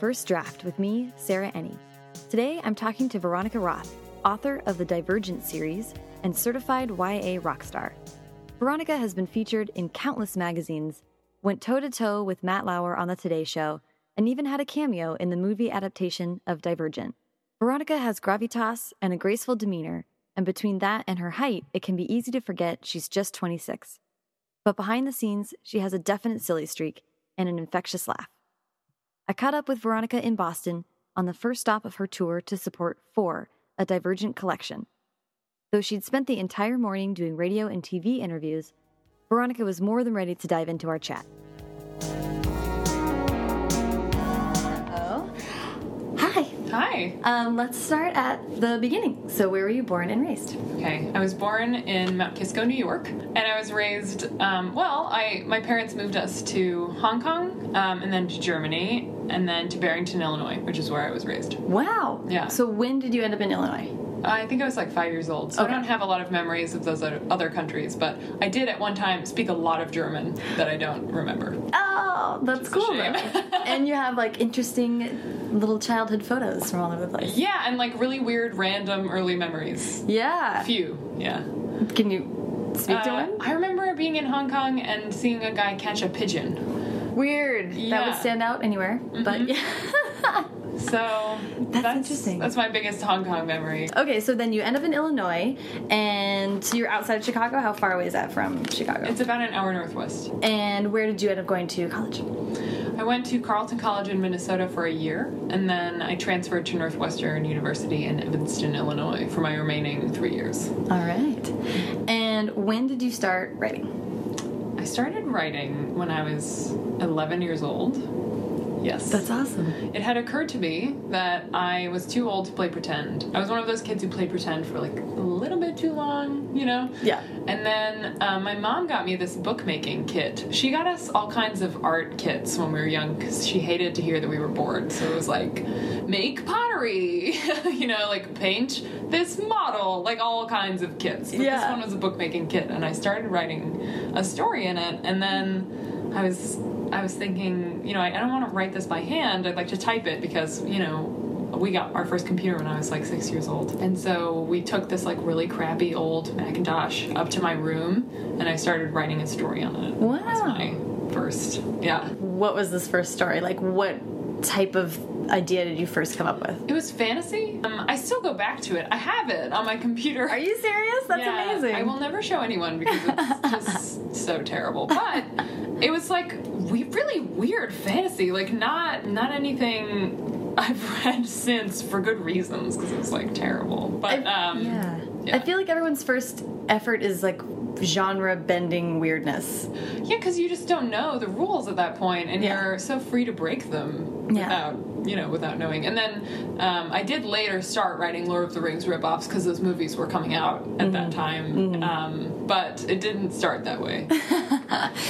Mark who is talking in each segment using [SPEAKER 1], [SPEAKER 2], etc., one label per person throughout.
[SPEAKER 1] First Draft with me, Sarah Ennie. Today I'm talking to Veronica Roth, author of the Divergent series and certified YA rock star. Veronica has been featured in countless magazines, went toe to toe with Matt Lauer on The Today Show, and even had a cameo in the movie adaptation of Divergent. Veronica has gravitas and a graceful demeanor, and between that and her height, it can be easy to forget she's just 26. But behind the scenes, she has a definite silly streak and an infectious laugh. I caught up with Veronica in Boston on the first stop of her tour to support Four, a Divergent collection. Though she'd spent the entire morning doing radio and TV interviews, Veronica was more than ready to dive into our chat. Hello. Hi.
[SPEAKER 2] Hi.
[SPEAKER 1] Um, let's start at the beginning. So, where were you born and raised?
[SPEAKER 2] Okay. I was born in Mount Kisco, New York, and I was raised. Um, well, I my parents moved us to Hong Kong, um, and then to Germany, and then to Barrington, Illinois, which is where I was raised.
[SPEAKER 1] Wow.
[SPEAKER 2] Yeah.
[SPEAKER 1] So, when did you end up in Illinois?
[SPEAKER 2] I think I was like five years old, so
[SPEAKER 1] Okay.
[SPEAKER 2] I don't have a lot of memories of those other other countries. But I did at one time speak a lot of German that I don't remember.
[SPEAKER 1] Oh, that's cool.
[SPEAKER 2] shame.
[SPEAKER 1] though. and you have like interesting little childhood photos from all over the place.
[SPEAKER 2] Yeah, and like really weird, random early memories.
[SPEAKER 1] Yeah.
[SPEAKER 2] Few. Yeah.
[SPEAKER 1] Can you speak to
[SPEAKER 2] Uh,
[SPEAKER 1] one?
[SPEAKER 2] I remember being in Hong Kong and seeing a guy catch a pigeon.
[SPEAKER 1] Weird. That would
[SPEAKER 2] yeah. Mm-hmm.
[SPEAKER 1] stand out anywhere, but yeah.
[SPEAKER 2] So that's,
[SPEAKER 1] interesting.
[SPEAKER 2] That's my biggest Hong Kong memory.
[SPEAKER 1] okay, so then you end up in Illinois, and so you're outside of Chicago. How far away is that from Chicago?
[SPEAKER 2] It's about an hour northwest.
[SPEAKER 1] and where did you end up going to college?
[SPEAKER 2] I went to Carleton College in Minnesota for a year, and then I transferred to Northwestern University in Evanston, Illinois, for my remaining three years.
[SPEAKER 1] All right. And when did you start writing?
[SPEAKER 2] I started writing when I was 11 years old. Yes.
[SPEAKER 1] awesome.
[SPEAKER 2] it had occurred to me that I was too old to play pretend. I was one of those kids who played pretend for like a little bit too long, you know?
[SPEAKER 1] Yeah.
[SPEAKER 2] And then uh, my mom got me this bookmaking kit. She got us all kinds of art kits when we were young because she hated to hear that we were bored. So it was like, make pottery, you know, like paint this model, like all kinds of kits. But
[SPEAKER 1] Yeah.
[SPEAKER 2] This one was a bookmaking kit, and I started writing a story in it, and then I was I was thinking, you know, I, I don't want to write this by hand. I'd like to type it because you know. We got our first computer when I was like six years old. And so we took this like really crappy old Macintosh up to my room and I started writing a story on it.
[SPEAKER 1] Wow.
[SPEAKER 2] That's my first, yeah.
[SPEAKER 1] What was this first story? Like, what type of idea did you first come up with?
[SPEAKER 2] It was fantasy. Um, I still go back to it. I have it on my computer.
[SPEAKER 1] Are you serious? That's
[SPEAKER 2] Yeah,
[SPEAKER 1] amazing.
[SPEAKER 2] I will never show anyone because it's just so terrible. But it was like we really weird fantasy, like not not anything I've read since for good reasons because it was like terrible. But
[SPEAKER 1] I-
[SPEAKER 2] um,
[SPEAKER 1] yeah.
[SPEAKER 2] yeah.
[SPEAKER 1] I feel like everyone's first effort is like genre bending weirdness.
[SPEAKER 2] Yeah, because you just don't know the rules at that point, and
[SPEAKER 1] Yeah.
[SPEAKER 2] you're so free to break them
[SPEAKER 1] Yeah.
[SPEAKER 2] without, you know, without knowing. And then um, I did later start writing Lord of the Rings ripoffs because those movies were coming out at that
[SPEAKER 1] Mm-hmm.
[SPEAKER 2] time, um, but it didn't start that way.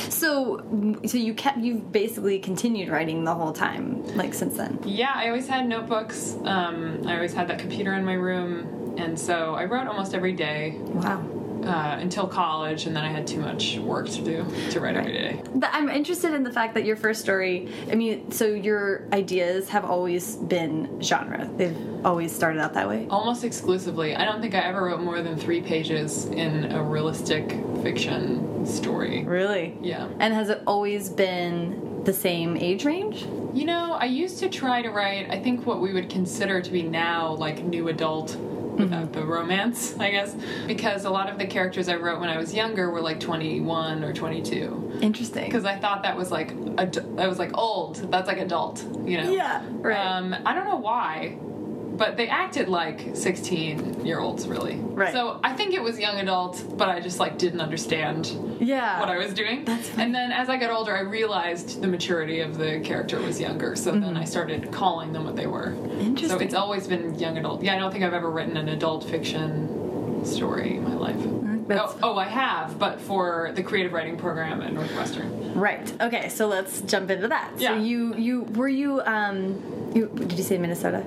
[SPEAKER 1] So, so you kept you've basically continued writing the whole time, like since then.
[SPEAKER 2] yeah, I always had notebooks. Um, I always had that computer in my room, and so I wrote almost every day
[SPEAKER 1] Wow.
[SPEAKER 2] uh, until college, and then I had too much work to do to write every day.
[SPEAKER 1] But I'm interested in the fact that your first story. I mean, so your ideas have always been genre. They've always started out that way.
[SPEAKER 2] Almost exclusively. I don't think I ever wrote more than three pages in a realistic fiction story.
[SPEAKER 1] Really.
[SPEAKER 2] Yeah.
[SPEAKER 1] And has it always been the same age range?
[SPEAKER 2] You know, I used to try to write, I think, what we would consider to be now like new adult without the romance, I guess, because a lot of the characters I wrote when I was younger were like 21 or 22.
[SPEAKER 1] Interesting.
[SPEAKER 2] Because I thought that was like, ad- that was like old. That's like adult, you know?
[SPEAKER 1] yeah. Right.
[SPEAKER 2] Um, I don't know why, but they acted like 16 year olds, really.
[SPEAKER 1] Right.
[SPEAKER 2] So I think it was young adults, but I just like didn't understand
[SPEAKER 1] yeah.
[SPEAKER 2] what I was doing.
[SPEAKER 1] That's funny.
[SPEAKER 2] And then as I got older, I realized the maturity of the character was younger. So then I started calling them what they were. So
[SPEAKER 1] Mm-hmm. Interesting.
[SPEAKER 2] it's always been young adult. Yeah, I don't think I've ever written an adult fiction story in my life.
[SPEAKER 1] Mm-hmm. That's-
[SPEAKER 2] oh, oh, I have, but for the creative writing program at Northwestern.
[SPEAKER 1] Right. Okay. So let's jump into that.
[SPEAKER 2] Yeah.
[SPEAKER 1] So you you were you um you did you say Minnesota?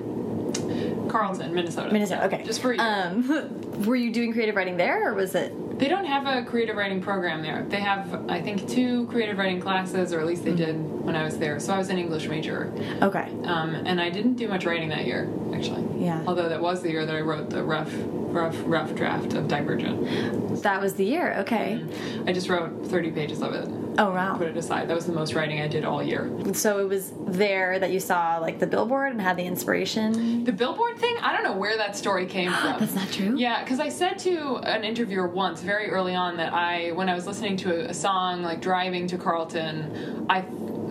[SPEAKER 2] Carlton, Minnesota.
[SPEAKER 1] Minnesota. Okay.
[SPEAKER 2] Just for you.
[SPEAKER 1] Um, were you doing creative writing there, or was it?
[SPEAKER 2] They don't have a creative writing program there. They have, I think, two creative writing classes, or at least they
[SPEAKER 1] Mm-hmm.
[SPEAKER 2] did when I was there. So I was an English major,
[SPEAKER 1] Okay.
[SPEAKER 2] um, and I didn't do much writing that year, actually.
[SPEAKER 1] Yeah.
[SPEAKER 2] Although that was the year that I wrote the rough, rough, rough draft of Divergent.
[SPEAKER 1] That was the year. Okay.
[SPEAKER 2] I just wrote 30 pages of it.
[SPEAKER 1] Oh wow.
[SPEAKER 2] Put it aside. That was the most writing I did all year.
[SPEAKER 1] So it was there that you saw like the billboard and had the inspiration.
[SPEAKER 2] The billboard thing, I don't know where that story came from.
[SPEAKER 1] That's not true.
[SPEAKER 2] Yeah, because I said to an interviewer once, very early on, that I, when I was listening to a, a song, like driving to Carlton, I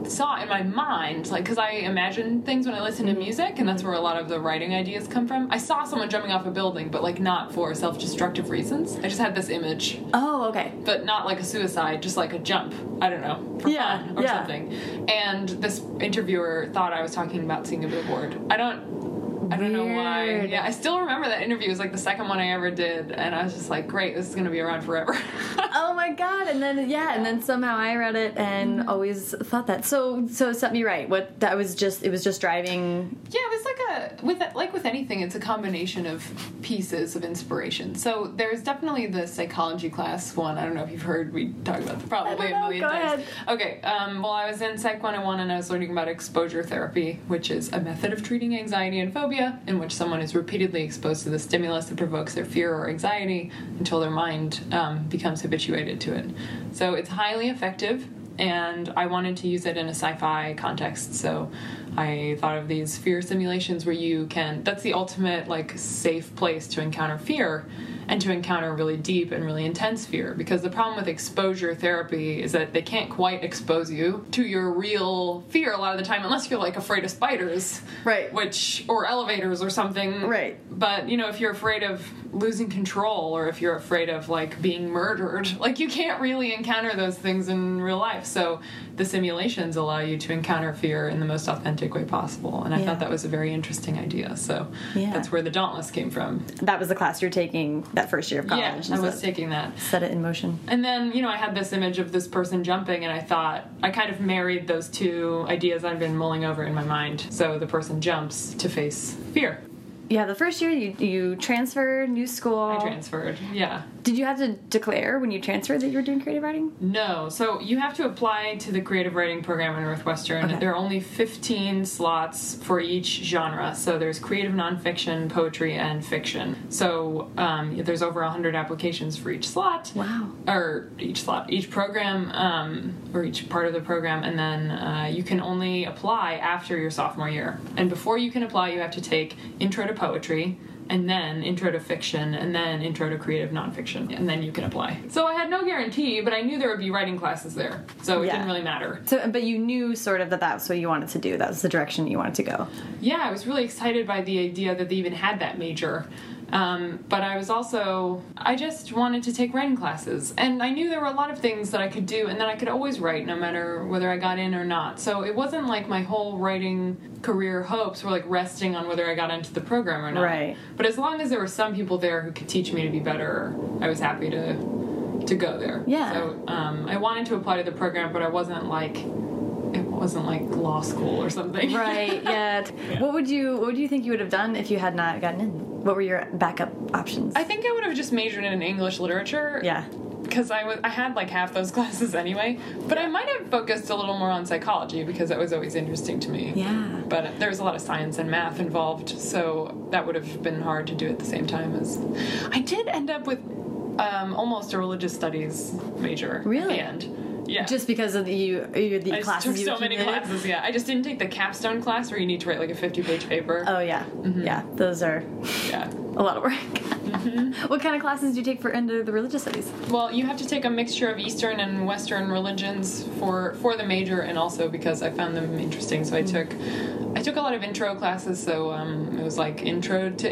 [SPEAKER 2] saw in my mind, like, because I imagine things when I listen to music, and that's where a lot of the writing ideas come from. I saw someone jumping off a building, but like not for self destructive reasons. I just had this image,
[SPEAKER 1] Oh okay.
[SPEAKER 2] but not like a suicide, just like a jump. I don't know, for
[SPEAKER 1] Yeah,
[SPEAKER 2] fun or
[SPEAKER 1] yeah.
[SPEAKER 2] something. And this interviewer thought I was talking about seeing a billboard. I don't. I don't know why.
[SPEAKER 1] Weird.
[SPEAKER 2] Yeah, I still remember that interview. It was like the second one I ever did, and I was just like, "Great, this is gonna be around forever."
[SPEAKER 1] Oh my god! And then yeah, and then somehow I read it and
[SPEAKER 2] Mm-hmm.
[SPEAKER 1] always thought that. So so set me right. What that was just it was just driving.
[SPEAKER 2] Yeah, it was like a with like with anything, it's a combination of pieces of inspiration. So there's definitely the psychology class one. I don't know if you've heard we talk about that probably
[SPEAKER 1] I don't know,
[SPEAKER 2] a million
[SPEAKER 1] go
[SPEAKER 2] times.
[SPEAKER 1] ahead.
[SPEAKER 2] Okay, um, well, I was in Psych 101 and I was learning about exposure therapy, which is a method of treating anxiety and phobia in which someone is repeatedly exposed to the stimulus that provokes their fear or anxiety until their mind um, becomes habituated to it. So it's highly effective and I wanted to use it in a sci-fi context. So I thought of these fear simulations where you can that's the ultimate like safe place to encounter fear and to encounter really deep and really intense fear because the problem with exposure therapy is that they can't quite expose you to your real fear a lot of the time unless you're like afraid of spiders
[SPEAKER 1] Right.
[SPEAKER 2] which or elevators or something
[SPEAKER 1] Right.
[SPEAKER 2] but you know if you're afraid of losing control or if you're afraid of like being murdered like you can't really encounter those things in real life so the simulations allow you to encounter fear in the most authentic way possible and i
[SPEAKER 1] Yeah.
[SPEAKER 2] thought that was a very interesting idea so
[SPEAKER 1] Yeah.
[SPEAKER 2] that's where the dauntless came from
[SPEAKER 1] That was the class you're taking that first year of college.
[SPEAKER 2] yeah
[SPEAKER 1] and
[SPEAKER 2] i
[SPEAKER 1] so
[SPEAKER 2] was taking that
[SPEAKER 1] set it in motion.
[SPEAKER 2] and then, you know, I had this image of this person jumping, and I thought, I kind of married those two ideas I've been mulling over in my mind. So the person jumps to face fear.
[SPEAKER 1] Yeah, the first year you you transferred new school.
[SPEAKER 2] I transferred. Yeah.
[SPEAKER 1] Did you have to declare when you transferred that you were doing creative writing?
[SPEAKER 2] No. So you have to apply to the creative writing program at Northwestern.
[SPEAKER 1] Okay.
[SPEAKER 2] There are only 15 slots for each genre. So there's creative nonfiction, poetry, and fiction. So um, there's over 100 applications for each slot.
[SPEAKER 1] Wow.
[SPEAKER 2] Or each slot, each program, um, or each part of the program, and then uh, you can only apply after your sophomore year. And before you can apply, you have to take intro to poetry, and then intro to fiction, and then intro to creative nonfiction, and then you can apply. So I had no guarantee, but I knew there would be writing classes there, so it
[SPEAKER 1] Yeah.
[SPEAKER 2] didn't really matter.
[SPEAKER 1] So, but you knew sort of that that's what you wanted to do. That was the direction you wanted to go.
[SPEAKER 2] Yeah, I was really excited by the idea that they even had that major. Um, but I was also, I just wanted to take writing classes. And I knew there were a lot of things that I could do and that I could always write no matter whether I got in or not. So it wasn't like my whole writing career hopes were like resting on whether I got into the program or not.
[SPEAKER 1] Right.
[SPEAKER 2] But as long as there were some people there who could teach me to be better, I was happy to to go there.
[SPEAKER 1] Yeah.
[SPEAKER 2] So um, I wanted to apply to the program, but I wasn't like, it wasn't like law school or something.
[SPEAKER 1] Right. yeah. What would you What would you think you would have done if you had not gotten in? What were your backup options?
[SPEAKER 2] I think I would have just majored in English literature.
[SPEAKER 1] yeah.
[SPEAKER 2] Because I, was, I had like half those classes anyway. But I might have focused a little more on psychology because that was always interesting to me.
[SPEAKER 1] Yeah.
[SPEAKER 2] But there was a lot of science and math involved, so that would have been hard to do at the same time as. I did end up with um, almost a religious studies major.
[SPEAKER 1] Really?
[SPEAKER 2] At the end. Yeah.
[SPEAKER 1] Just because of the you, you the
[SPEAKER 2] I just
[SPEAKER 1] classes
[SPEAKER 2] took
[SPEAKER 1] you
[SPEAKER 2] so many
[SPEAKER 1] accumulated?
[SPEAKER 2] classes, yeah. I just didn't take the capstone class where you need to write like a 50 page paper.
[SPEAKER 1] Oh yeah,
[SPEAKER 2] Mm-hmm.
[SPEAKER 1] yeah. Those are
[SPEAKER 2] Yeah.
[SPEAKER 1] a lot of work.
[SPEAKER 2] Mm-hmm.
[SPEAKER 1] what kind of classes do you take for under the religious studies?
[SPEAKER 2] Well, you have to take a mixture of Eastern and Western religions for for the major, and also because I found them interesting. So I took I took a lot of intro classes. So um, it was like intro to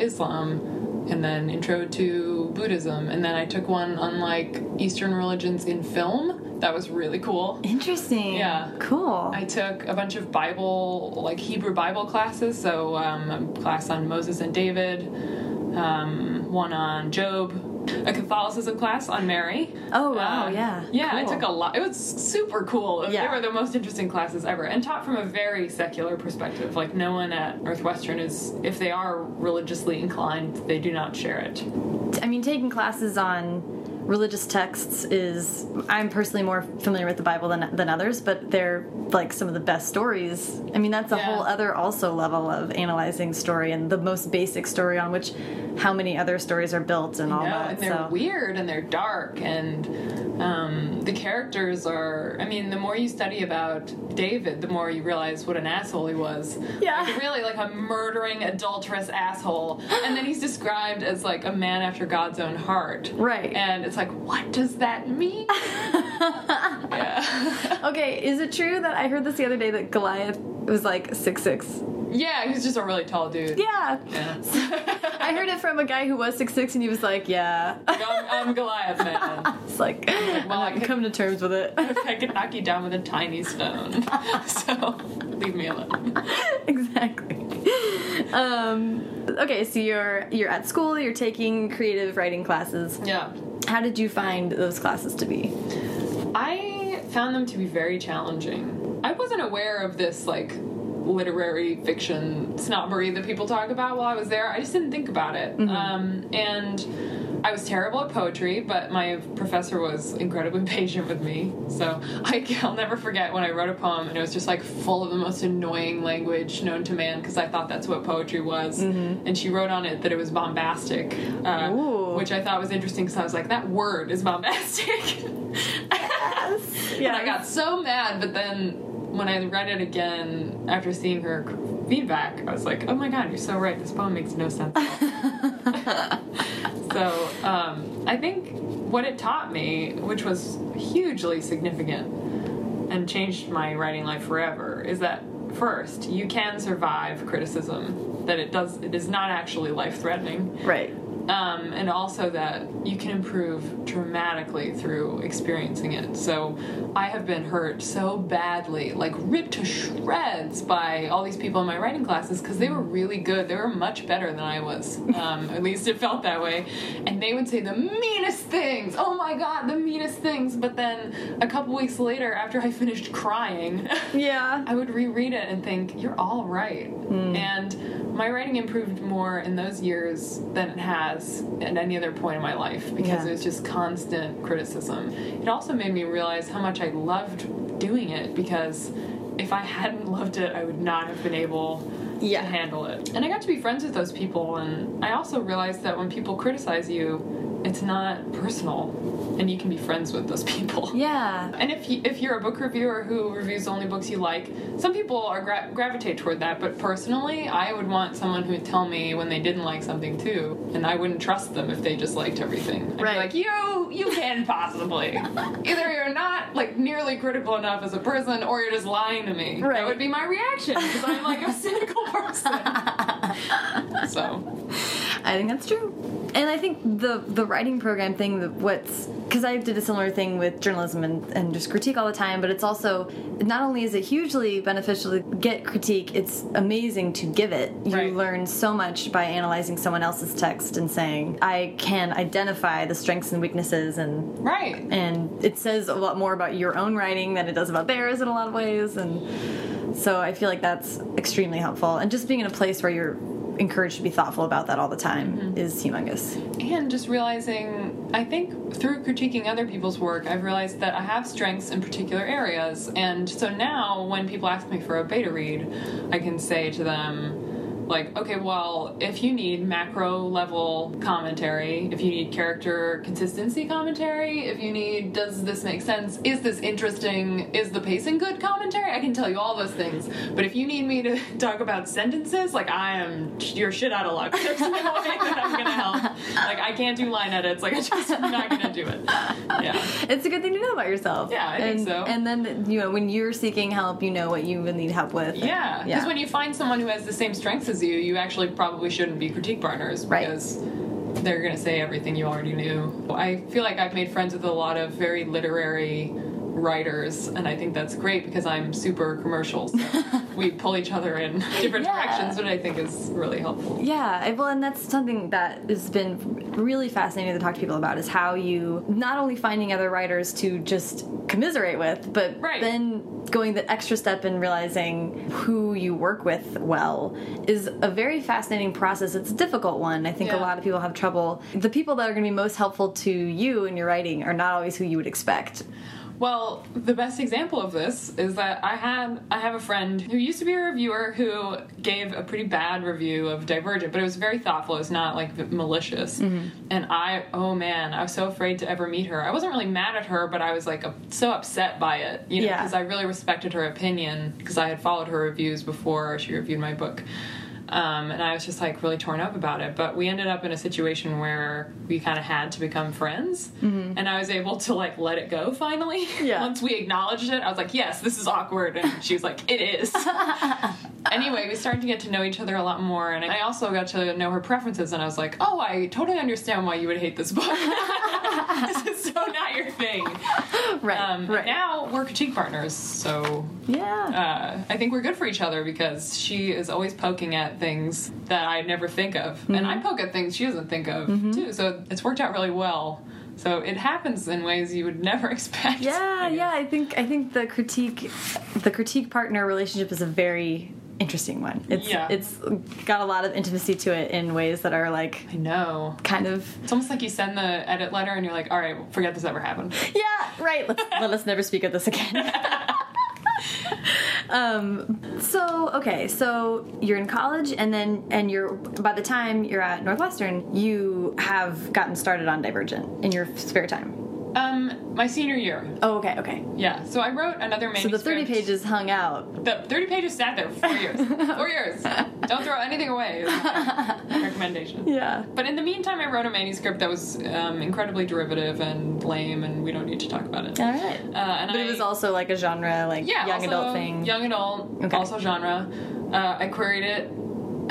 [SPEAKER 2] Islam, and then intro to Buddhism, and then I took one on like Eastern religions in film. That was really cool.
[SPEAKER 1] Interesting.
[SPEAKER 2] Yeah.
[SPEAKER 1] Cool.
[SPEAKER 2] I took a bunch of Bible, like Hebrew Bible classes, so um, a class on Moses and David, um, one on Job, a Catholicism class on Mary.
[SPEAKER 1] Oh, wow,
[SPEAKER 2] Um,
[SPEAKER 1] yeah.
[SPEAKER 2] Yeah, I
[SPEAKER 1] Cool.
[SPEAKER 2] took a lot. It was super cool. It-
[SPEAKER 1] Yeah.
[SPEAKER 2] They were the most interesting classes ever and taught from a very secular perspective. Like, no one at Northwestern is, if they are religiously inclined, they do not share it.
[SPEAKER 1] I mean, taking classes on religious texts is I'm personally more familiar with the Bible than than others, but they're like some of the best stories. I mean, that's a
[SPEAKER 2] Yeah.
[SPEAKER 1] whole other also level of analyzing story and the most basic story on which how many other stories are built and all
[SPEAKER 2] No,
[SPEAKER 1] that.
[SPEAKER 2] and they're
[SPEAKER 1] so
[SPEAKER 2] weird and they're dark and um, the characters are i mean the more you study about david the more you realize what an asshole he was
[SPEAKER 1] Yeah.
[SPEAKER 2] Like, really like a murdering adulterous asshole and then he's described as like a man after god's own heart
[SPEAKER 1] Right.
[SPEAKER 2] and it's like what does that mean yeah.
[SPEAKER 1] okay, is it true that I heard this the other day that Goliath was like six six?
[SPEAKER 2] yeah he's just a really tall dude
[SPEAKER 1] Yeah.
[SPEAKER 2] Yeah.
[SPEAKER 1] I heard it from a guy who was six six, and he was like, "Yeah."
[SPEAKER 2] I'm, I'm goliath man
[SPEAKER 1] It's like,
[SPEAKER 2] well,
[SPEAKER 1] I
[SPEAKER 2] I
[SPEAKER 1] can
[SPEAKER 2] could-
[SPEAKER 1] come to terms with it.
[SPEAKER 2] i could knock you down with a tiny stone so leave me alone
[SPEAKER 1] exactly. Um, okay, so you're you're at school. You're taking creative writing classes.
[SPEAKER 2] yeah
[SPEAKER 1] How did you find those classes to be?
[SPEAKER 2] I found them to be very challenging. I wasn't aware of this like literary fiction snobbery that people talk about while I was there. I just didn't think about it. Um, and I was terrible at poetry, but my professor was incredibly patient with me. So I, I'll never forget when I wrote a poem and it was just like full of the most annoying language known to man because I thought that's what poetry was. And she wrote on it that it was bombastic, uh,
[SPEAKER 1] Ooh.
[SPEAKER 2] which I thought was interesting because I was like, that word is bombastic.
[SPEAKER 1] Yeah.
[SPEAKER 2] And I got so mad, but then when I read it again after seeing her c- feedback, I was like, oh my god, you're so right. This poem makes no sense. at all." so um, I think what it taught me, which was hugely significant and changed my writing life forever, is that first, you can survive criticism, that it does it is not actually life threatening
[SPEAKER 1] Right.
[SPEAKER 2] um, and also that you can improve dramatically through experiencing it. So I have been hurt so badly, like ripped to shreds by all these people in my writing classes because they were really good. They were much better than I was. Um, at least it felt that way. And they would say the meanest things. Oh my god, the meanest things. But then a couple weeks later, after I finished crying.
[SPEAKER 1] Yeah.
[SPEAKER 2] I would reread it and think, you're all right.
[SPEAKER 1] Hmm.
[SPEAKER 2] And my writing improved more in those years than it has at any other point in my life because
[SPEAKER 1] Yeah.
[SPEAKER 2] it was just constant criticism. It also made me realize how much I loved doing it because if I hadn't loved it, I would not have been able
[SPEAKER 1] Yeah.
[SPEAKER 2] to handle it. And I got to be friends with those people, and I also realized that when people criticize you, it's not personal, and you can be friends with those people.
[SPEAKER 1] Yeah.
[SPEAKER 2] And if you, if you're a book reviewer who reviews only books you like, some people are gra- gravitate toward that. But personally, I would want someone who would tell me when they didn't like something too, and I wouldn't trust them if they just liked everything. I'd
[SPEAKER 1] Right.
[SPEAKER 2] Be like you, you can possibly. Either you're not like nearly critical enough as a person, or you're just lying to me.
[SPEAKER 1] Right.
[SPEAKER 2] That would be my reaction because I'm like a cynical person. so
[SPEAKER 1] I think that's true. And I think the the writing program thing, the, what's because I did a similar thing with journalism and, and just critique all the time, but it's also not only is it hugely beneficial to get critique, it's amazing to give it. You
[SPEAKER 2] Right.
[SPEAKER 1] learn so much by analyzing someone else's text and saying, I can identify the strengths and weaknesses and
[SPEAKER 2] right.
[SPEAKER 1] and it says a lot more about your own writing than it does about theirs in a lot of ways and so i feel like that's extremely helpful and just being in a place where you're encouraged to be thoughtful about that all the time
[SPEAKER 2] Mm-hmm.
[SPEAKER 1] is humongous
[SPEAKER 2] and just realizing i think through critiquing other people's work i've realized that i have strengths in particular areas and so now when people ask me for a beta read i can say to them like okay well if you need macro level commentary if you need character consistency commentary if you need does this make sense is this interesting is the pacing good commentary i can tell you all those things but if you need me to talk about sentences like i am you're shit out of luck there's no way that i'm gonna help like i can't do line edits like i just am not gonna do it yeah
[SPEAKER 1] it's a good thing to know about yourself
[SPEAKER 2] Yeah, I
[SPEAKER 1] and,
[SPEAKER 2] think so.
[SPEAKER 1] and then you know when you're seeking help you know what you would need help with
[SPEAKER 2] yeah because when you find someone who has the same strengths as you you actually probably shouldn't be critique partners
[SPEAKER 1] Right.
[SPEAKER 2] because they're gonna say everything you already knew i feel like i've made friends with a lot of very literary writers and i think that's great because i'm super commercial so we pull each other in different
[SPEAKER 1] Yeah.
[SPEAKER 2] directions, which I think is really helpful.
[SPEAKER 1] Yeah, I- well, and that's something that has been really fascinating to talk to people about is how you not only finding other writers to just commiserate with, but
[SPEAKER 2] Right.
[SPEAKER 1] then going the extra step and realizing who you work with well is a very fascinating process. It's a difficult one. I think a
[SPEAKER 2] Yeah.
[SPEAKER 1] lot of people have trouble. The people that are going to be most helpful to you in your writing are not always who you would expect.
[SPEAKER 2] Well, the best example of this is that I had I have a friend who used to be a reviewer who gave a pretty bad review of Divergent, but it was very thoughtful. It was not like malicious. And I, oh man, I was so afraid to ever meet her. I wasn't really mad at her, but I was like so upset by it, you know,
[SPEAKER 1] Yeah.
[SPEAKER 2] because I really respected her opinion because I had followed her reviews before she reviewed my book. Um, and I was just like really torn up about it. But we ended up in a situation where we kind of had to become friends. And I was able to like let it go finally.
[SPEAKER 1] Yeah.
[SPEAKER 2] Once we acknowledged it, I was like, yes, this is awkward. And she was like, it is. anyway, we started to get to know each other a lot more. And I also got to know her preferences. And I was like, oh, I totally understand why you would hate this book. this is so not your thing.
[SPEAKER 1] Right.
[SPEAKER 2] Um,
[SPEAKER 1] right.
[SPEAKER 2] Now we're critique partners. So
[SPEAKER 1] yeah.
[SPEAKER 2] uh, I think we're good for each other because she is always poking at things that I never think of, and I
[SPEAKER 1] Mm-hmm.
[SPEAKER 2] poke at things she doesn't think of too. So it's worked out really well. So it happens in ways you would never expect.
[SPEAKER 1] Yeah,
[SPEAKER 2] I guess.
[SPEAKER 1] yeah. I think I think the critique, the critique partner relationship is a very interesting one. It's
[SPEAKER 2] Yeah.
[SPEAKER 1] it's got a lot of intimacy to it in ways that are like
[SPEAKER 2] I know.
[SPEAKER 1] kind of
[SPEAKER 2] It's almost like you send the edit letter and you're like, all right, forget this ever happened.
[SPEAKER 1] yeah right. Let's, let us never speak of this again. um. So okay. So you're in college, and then and you're by the time you're at Northwestern, you have gotten started on Divergent in your spare time.
[SPEAKER 2] Um, my senior year.
[SPEAKER 1] Oh, okay, okay.
[SPEAKER 2] Yeah. So I wrote another
[SPEAKER 1] So the
[SPEAKER 2] manuscript.
[SPEAKER 1] thirty pages hung out.
[SPEAKER 2] The 30 pages sat there for four years. Four years. Don't throw anything away. Is my recommendation.
[SPEAKER 1] Yeah.
[SPEAKER 2] But in the meantime, I wrote a manuscript that was um, incredibly derivative and lame, and we don't need to talk about it.
[SPEAKER 1] All right.
[SPEAKER 2] Uh, and
[SPEAKER 1] But
[SPEAKER 2] I,
[SPEAKER 1] it was also like a genre, like
[SPEAKER 2] yeah,
[SPEAKER 1] young
[SPEAKER 2] also
[SPEAKER 1] adult thing.
[SPEAKER 2] Young adult,
[SPEAKER 1] Okay.
[SPEAKER 2] also genre. Uh, I queried it.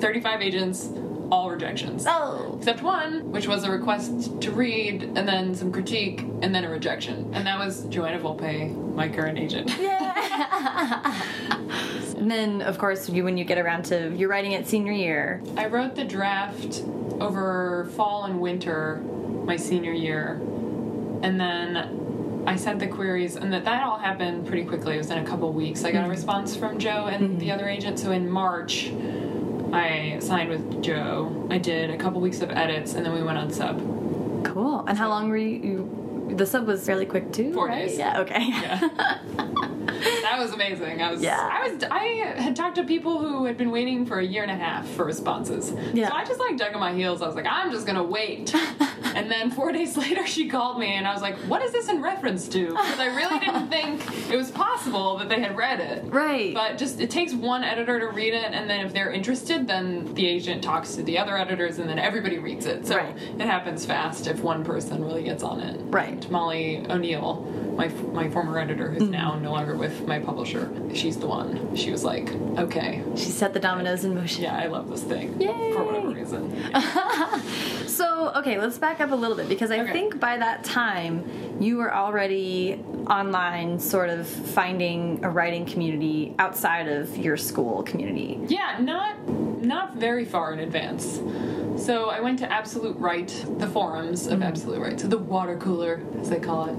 [SPEAKER 2] 35 agents, all rejections.
[SPEAKER 1] Oh,
[SPEAKER 2] Except one, which was a request to read, and then some critique, and then a rejection. And that was Joanna Volpe, my current agent.
[SPEAKER 1] yeah. and then, of course, you when you get around to you're writing it senior year.
[SPEAKER 2] I wrote the draft over fall and winter my senior year, and then I sent the queries, and that that all happened pretty quickly. It was in a couple weeks. I got a response from Joe and the other agent. So in March, I signed with Joe. I did a couple weeks of edits, and then we went on sub.
[SPEAKER 1] Cool. And how long were you? you the sub was fairly quick too.
[SPEAKER 2] Four
[SPEAKER 1] right?
[SPEAKER 2] days.
[SPEAKER 1] Yeah. Okay.
[SPEAKER 2] Yeah. That was amazing. I was,
[SPEAKER 1] Yeah.
[SPEAKER 2] I was, I had talked to people who had been waiting for a year and a half for responses.
[SPEAKER 1] Yeah.
[SPEAKER 2] So I just like dug in my heels. I was like, I'm just gonna wait. and then four days later, she called me, and I was like, What is this in reference to? Because I really didn't think it was possible that they had read it.
[SPEAKER 1] right.
[SPEAKER 2] But just it takes one editor to read it, and then if they're interested, then the agent talks to the other editors, and then everybody reads it. So
[SPEAKER 1] Right.
[SPEAKER 2] it happens fast if one person really gets on it.
[SPEAKER 1] Right. Mm-hmm.
[SPEAKER 2] Molly O'Neill, my my former editor, who's now no longer with my publisher, she's the one. She was like, okay,
[SPEAKER 1] she set the dominoes in motion.
[SPEAKER 2] yeah, I love this thing
[SPEAKER 1] Yay.
[SPEAKER 2] for whatever reason.
[SPEAKER 1] So okay, let's back up a little bit because I
[SPEAKER 2] Okay.
[SPEAKER 1] think by that time you were already online, sort of finding a writing community outside of your school community.
[SPEAKER 2] Yeah, not not very far in advance. So I went to Absolute Right, the forums of Absolute Right, so the water cooler as they call it,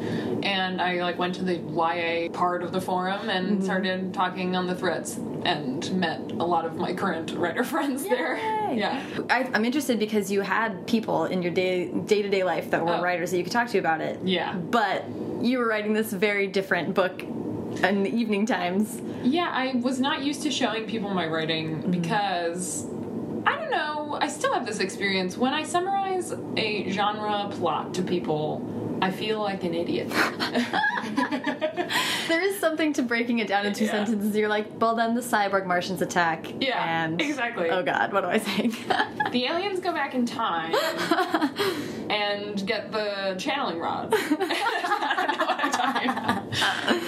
[SPEAKER 2] and I like went to the YA part of the forum and started talking on the threads and met a lot of my current writer friends there.
[SPEAKER 1] Yay.
[SPEAKER 2] Yeah.
[SPEAKER 1] I, I'm interested because you had people in your day day to day life that were
[SPEAKER 2] Oh.
[SPEAKER 1] writers that you could talk to about it.
[SPEAKER 2] Yeah.
[SPEAKER 1] But you were writing this very different book in the evening times.
[SPEAKER 2] Yeah, I was not used to showing people my writing because I don't know, I still have this experience. When I summarize a genre plot to people, I feel like an idiot.
[SPEAKER 1] There is something to breaking it down in two
[SPEAKER 2] Yeah.
[SPEAKER 1] sentences. You're like, well, then the cyborg Martians attack.
[SPEAKER 2] Yeah,
[SPEAKER 1] And
[SPEAKER 2] exactly.
[SPEAKER 1] Oh God, what am I saying?
[SPEAKER 2] the aliens go back in time and get the channeling rod. I don't know what I'm talking about.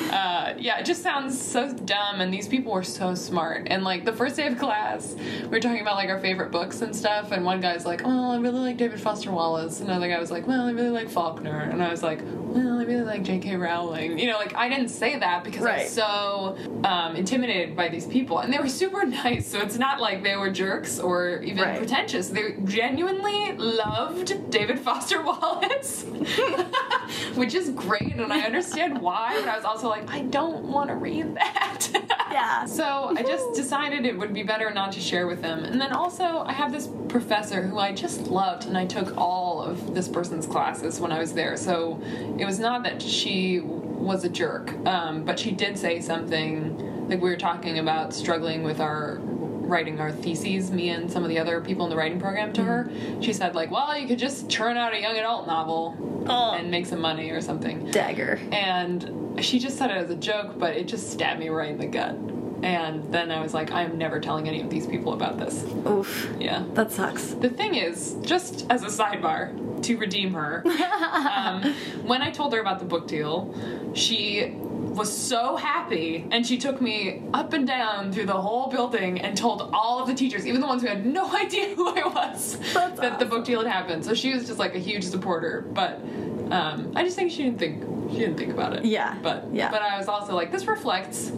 [SPEAKER 2] Uh, yeah, it just sounds so dumb. And these people were so smart. And like the first day of class, we were talking about like our favorite books and stuff. And one guy's like, "Oh, I really like David Foster Wallace." Another guy was like, "Well, I really like Faulkner." And I was like, "Well, I really like J.K. Rowling." You know, like I didn't say that because I
[SPEAKER 1] Right.
[SPEAKER 2] was so um, intimidated by these people, and they were super nice. So it's not like they were jerks or even
[SPEAKER 1] Right.
[SPEAKER 2] pretentious. They genuinely loved David Foster Wallace. which is great and I understand why, but I was also like, I don't want to read that.
[SPEAKER 1] Yeah.
[SPEAKER 2] So I just decided it would be better not to share with them. And then also, I have this professor who I just loved, and I took all of this person's classes when I was there. So it was not that she was a jerk, um, but she did say something like we were talking about struggling with our writing our theses me and some of the other people in the writing program to her she said like well you could just churn out a young adult novel
[SPEAKER 1] Oh.
[SPEAKER 2] and make some money or something
[SPEAKER 1] Dagger.
[SPEAKER 2] and she just said it as a joke, but it just stabbed me right in the gut. And then I was like, I'm never telling any of these people about this.
[SPEAKER 1] Oof.
[SPEAKER 2] Yeah.
[SPEAKER 1] That sucks.
[SPEAKER 2] The thing is, just as a sidebar to redeem her, um, when I told her about the book deal, she was so happy and she took me up and down through the whole building and told all of the teachers, even the ones who had no idea who I was,
[SPEAKER 1] That's
[SPEAKER 2] that the book deal had happened. So she was just like a huge supporter, but um, I just think she didn't think she didn't think about it.
[SPEAKER 1] Yeah,
[SPEAKER 2] But
[SPEAKER 1] yeah.
[SPEAKER 2] but I was also like, this reflects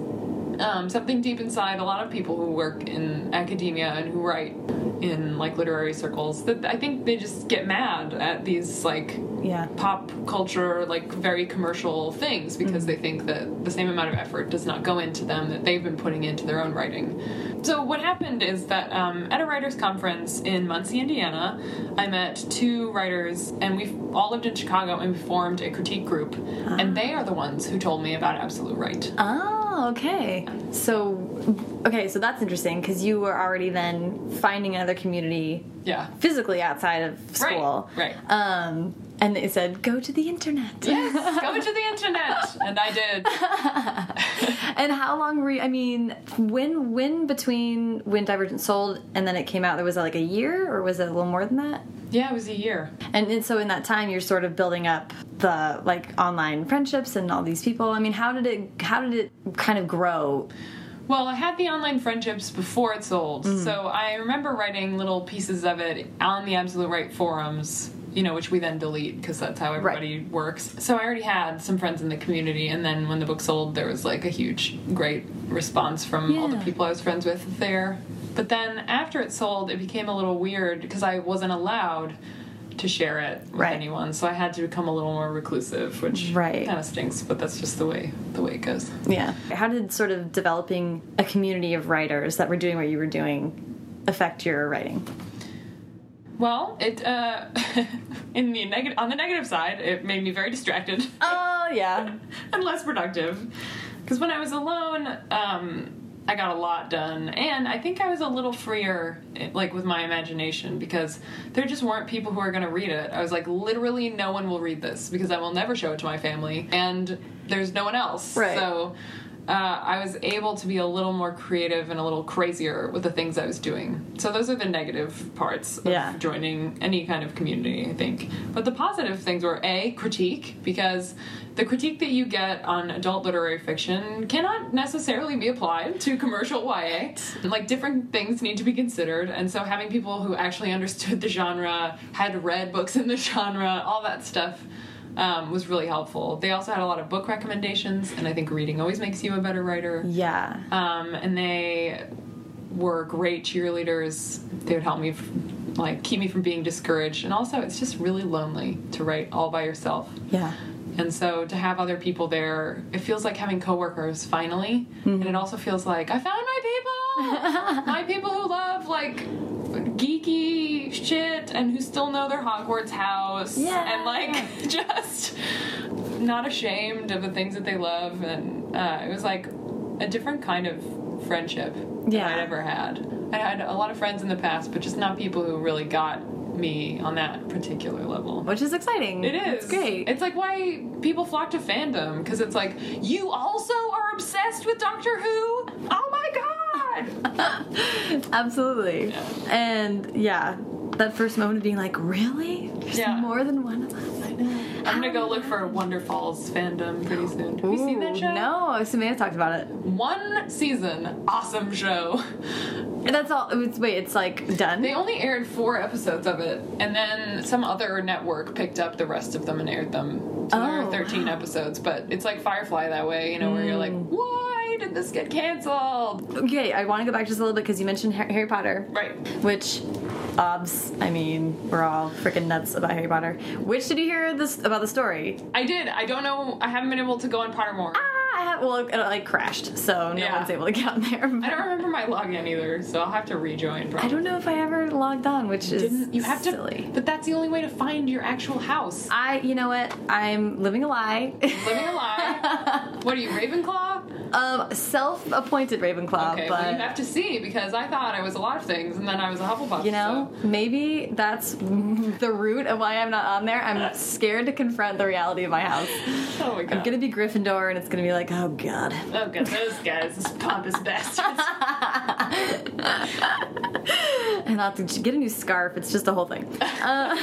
[SPEAKER 2] um, something deep inside a lot of people who work in academia and who write in like literary circles that I think they just get mad at these like
[SPEAKER 1] Yeah.
[SPEAKER 2] pop culture like very commercial things because they think that the same amount of effort does not go into them that they've been putting into their own writing so what happened is that um, at a writers conference in muncie indiana i met two writers and we all lived in chicago and we formed a critique group and they are the ones who told me about absolute right
[SPEAKER 1] Oh, okay. So, okay, so that's interesting because you were already then finding another community
[SPEAKER 2] yeah
[SPEAKER 1] physically outside of
[SPEAKER 2] Right,
[SPEAKER 1] school.
[SPEAKER 2] right.
[SPEAKER 1] Um, and they said, go to the internet.
[SPEAKER 2] yes go to the internet and i did
[SPEAKER 1] And how long were you? I mean, when when between when Divergent sold and then it came out, there was like a year, or was it a little more than that?
[SPEAKER 2] yeah it was a year
[SPEAKER 1] And, and so in that time, you're sort of building up the like online friendships and all these people. I mean, how did it how did it kind of grow?
[SPEAKER 2] Well, I had the online friendships before it sold,
[SPEAKER 1] Mm.
[SPEAKER 2] so I remember writing little pieces of it on the Absolute Right forums, you know, which we then delete because that's how everybody works. So I already had some friends in the community, and then when the book sold, there was like a huge, great response from all the
[SPEAKER 1] Yeah.
[SPEAKER 2] people I was friends with there. But then after it sold, it became a little weird because I wasn't allowed to share it with
[SPEAKER 1] Right.
[SPEAKER 2] anyone, so I had to become a little more reclusive, which
[SPEAKER 1] Right.
[SPEAKER 2] kind of stinks. But that's just the way the way it goes.
[SPEAKER 1] Yeah, how did sort of developing a community of writers that were doing what you were doing affect your writing?
[SPEAKER 2] Well, it uh, in the negative on the negative side, it made me very distracted
[SPEAKER 1] Oh yeah,
[SPEAKER 2] and less productive. Because when I was alone, um, I got a lot done, and I think I was a little freer, eh, like with my imagination, because there just weren't people who are going to read it. I was like, literally, no one will read this because I will never show it to my family, and there's no one else.
[SPEAKER 1] Right.
[SPEAKER 2] So. Uh, I was able to be a little more creative and a little crazier with the things I was doing. So those are the negative parts of
[SPEAKER 1] Yeah.
[SPEAKER 2] joining any kind of community, I think. But the positive things were A, critique, because the critique that you get on adult literary fiction cannot necessarily be applied to commercial YA. Like, different things need to be considered, and so having people who actually understood the genre, had read books in the genre, all that stuff. Um, was really helpful. They also had a lot of book recommendations, and I think reading always makes you a better writer
[SPEAKER 1] yeah.
[SPEAKER 2] um, and they were great cheerleaders. They would help me, f- like, keep me from being discouraged. And also, it's just really lonely to write all by yourself.
[SPEAKER 1] Yeah.
[SPEAKER 2] And so, to have other people there, it feels like having coworkers finally.
[SPEAKER 1] Mm-hmm.
[SPEAKER 2] And it also feels like I found my people, my people who love like geeky shit and who still know their Hogwarts house
[SPEAKER 1] Yeah.
[SPEAKER 2] and like just not ashamed of the things that they love. And uh, it was like a different kind of friendship
[SPEAKER 1] Yeah.
[SPEAKER 2] that I'd ever had. I had a lot of friends in the past, but just not people who really got me on that particular level.
[SPEAKER 1] Which is exciting.
[SPEAKER 2] It is.
[SPEAKER 1] It's great.
[SPEAKER 2] It's like why people flock to fandom because it's like you also are obsessed with Doctor Who. Oh my god!
[SPEAKER 1] Absolutely.
[SPEAKER 2] Yeah.
[SPEAKER 1] And yeah, that first moment of being like, really? There's
[SPEAKER 2] Yeah.
[SPEAKER 1] more than one of us.
[SPEAKER 2] I'm gonna go look for Wonder Falls fandom pretty soon. Have you seen that
[SPEAKER 1] Ooh,
[SPEAKER 2] show?
[SPEAKER 1] No, Samantha talked about it.
[SPEAKER 2] One season, awesome show.
[SPEAKER 1] That's all. It's, wait, it's like done.
[SPEAKER 2] They only aired four episodes of it, and then some other network picked up the rest of them and aired them. So there
[SPEAKER 1] Oh,
[SPEAKER 2] are 13
[SPEAKER 1] wow. Hmm.
[SPEAKER 2] episodes, but it's like Firefly that way, you know, where you're like, why did this get canceled?
[SPEAKER 1] okay, I want to go back just a little bit because you mentioned Har- Harry Potter,
[SPEAKER 2] Right.
[SPEAKER 1] which, obs. I mean, we're all freaking nuts about Harry Potter. Which did you hear this about the story?
[SPEAKER 2] I did. I don't know. I haven't been able to go on Pottermore.
[SPEAKER 1] Ah, I have, well, it like crashed, so no
[SPEAKER 2] Yeah.
[SPEAKER 1] one's able to get on there.
[SPEAKER 2] I don't remember my login either, so I'll have to rejoin. Probably.
[SPEAKER 1] I don't know if I ever logged on, which is
[SPEAKER 2] Didn't you have
[SPEAKER 1] silly.
[SPEAKER 2] to? But that's the only way to find your actual house.
[SPEAKER 1] I, you know what? I'm living a lie.
[SPEAKER 2] Living a lie. what are you, Ravenclaw?
[SPEAKER 1] um, self-appointed Ravenclaw,
[SPEAKER 2] Okay,
[SPEAKER 1] but
[SPEAKER 2] well you have to see because I thought I was a lot of things, and then I was a Hufflepuff.
[SPEAKER 1] you know,
[SPEAKER 2] so-
[SPEAKER 1] maybe that's the root of why I'm not on there. I'm scared to confront the reality of my house.
[SPEAKER 2] Oh my god.
[SPEAKER 1] I'm gonna be Gryffindor, and it's gonna be like, oh god.
[SPEAKER 2] Oh god, those guys, those pompous bastards.
[SPEAKER 1] And I'll have to get a new scarf. It's just a whole thing. Uh,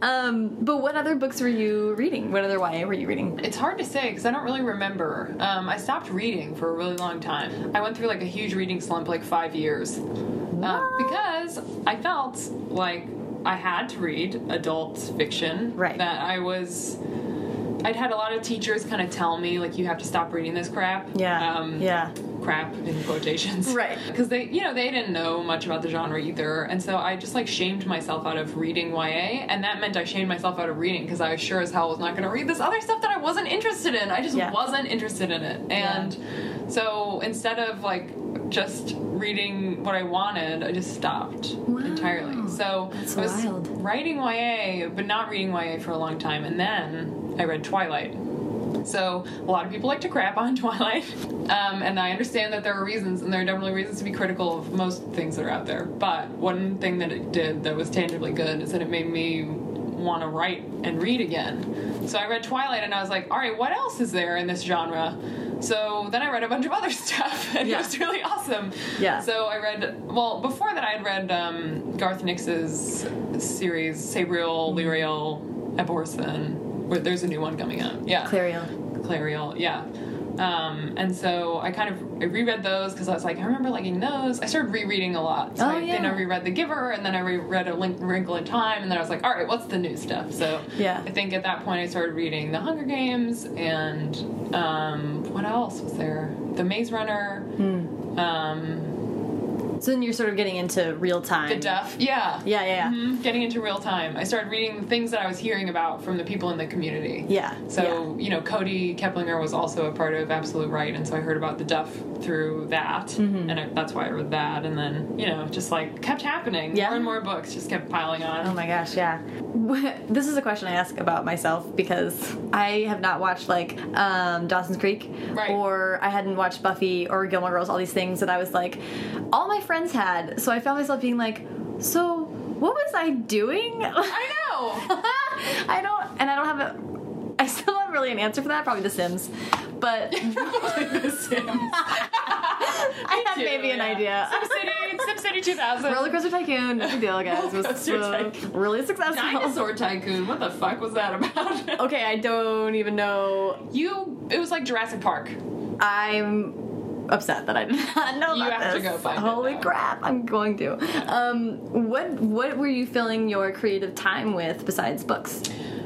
[SPEAKER 1] um, but what other books were you reading? What other YA were you reading?
[SPEAKER 2] It's hard to say because I don't really remember. Um, I stopped reading for a really long time. I went through like a huge reading slump, like five years, um, because I felt like I had to read adult fiction.
[SPEAKER 1] Right.
[SPEAKER 2] That I was. I'd had a lot of teachers kind of tell me like you have to stop reading this crap.
[SPEAKER 1] Yeah,
[SPEAKER 2] Um,
[SPEAKER 1] yeah.
[SPEAKER 2] crap in quotations.
[SPEAKER 1] Right.
[SPEAKER 2] Because they, you know, they didn't know much about the genre either. And so I just like shamed myself out of reading YA. And that meant I shamed myself out of reading because I sure as hell was not going to read this other stuff that I wasn't interested in. I just
[SPEAKER 1] Yeah.
[SPEAKER 2] wasn't interested in it. And so instead of like just reading what I wanted, I just stopped entirely. So
[SPEAKER 1] That's
[SPEAKER 2] I was
[SPEAKER 1] wild.
[SPEAKER 2] writing YA, but not reading YA for a long time. And then I read Twilight. So a lot of people like to crap on Twilight, um, and I understand that there are reasons, and there are definitely reasons to be critical of most things that are out there. But one thing that it did that was tangibly good is that it made me want to write and read again. So I read Twilight, and I was like, all right, what else is there in this genre? So then I read a bunch of other stuff, and
[SPEAKER 1] Yeah.
[SPEAKER 2] it was really awesome.
[SPEAKER 1] Yeah.
[SPEAKER 2] So I read, well, before that, I had read um, Garth Nix's series, Sabriel, Lyriel, Eborson. where There's a new one coming out. Yeah.
[SPEAKER 1] Clarion.
[SPEAKER 2] Clariel, yeah. Um, and so I kind of I reread those because I was like, I remember liking those. I started rereading a lot. So
[SPEAKER 1] Oh,
[SPEAKER 2] I, Then
[SPEAKER 1] yeah.
[SPEAKER 2] I reread The Giver, and then I reread A Link, Wrinkle in Time, and then I was like, all right, what's the new stuff? So
[SPEAKER 1] Yeah.
[SPEAKER 2] I think at that point I started reading The Hunger Games, and um, what else was there? The Maze Runner,
[SPEAKER 1] Hmm.
[SPEAKER 2] um,
[SPEAKER 1] So then you're sort of getting into real time.
[SPEAKER 2] The Duff, yeah.
[SPEAKER 1] Yeah, yeah, yeah.
[SPEAKER 2] Mhm, Getting into real time. I started reading things that I was hearing about from the people in the community.
[SPEAKER 1] Yeah.
[SPEAKER 2] So, you know, Cody Keplinger was also a part of Absolute Right, and so I heard about the Duff through that,
[SPEAKER 1] Mm-hmm.
[SPEAKER 2] and I, that's why I read that, and then, you know, just like kept happening.
[SPEAKER 1] Yeah.
[SPEAKER 2] More and more books just kept piling on.
[SPEAKER 1] Oh my gosh, yeah. This is a question I ask about myself because I have not watched like um, Dawson's Creek
[SPEAKER 2] Right.
[SPEAKER 1] or I hadn't watched Buffy or Gilmore Girls, all these things that I was like, all my friends had. So I found myself being like, so what was I doing?
[SPEAKER 2] I know!
[SPEAKER 1] I don't, and I don't have a, I still don't have really an answer for that, probably The Sims. But
[SPEAKER 2] The Sims.
[SPEAKER 1] Oh I have
[SPEAKER 2] Too,
[SPEAKER 1] maybe an
[SPEAKER 2] yeah.
[SPEAKER 1] idea.
[SPEAKER 2] SimCity, SimCity 2000.
[SPEAKER 1] Roller Coaster Tycoon, no big deal, guys. It was
[SPEAKER 2] Roller Coaster
[SPEAKER 1] uh,
[SPEAKER 2] Tycoon.
[SPEAKER 1] really successful.
[SPEAKER 2] Dinosaur Tycoon. What the fuck was that about?
[SPEAKER 1] Okay, I don't even know
[SPEAKER 2] You, it was like Jurassic Park.
[SPEAKER 1] I'm upset that I did not know
[SPEAKER 2] You
[SPEAKER 1] about
[SPEAKER 2] have to
[SPEAKER 1] this.
[SPEAKER 2] go find it
[SPEAKER 1] Holy
[SPEAKER 2] now.
[SPEAKER 1] crap! I'm going to. Um, what what were you filling your creative time with besides books?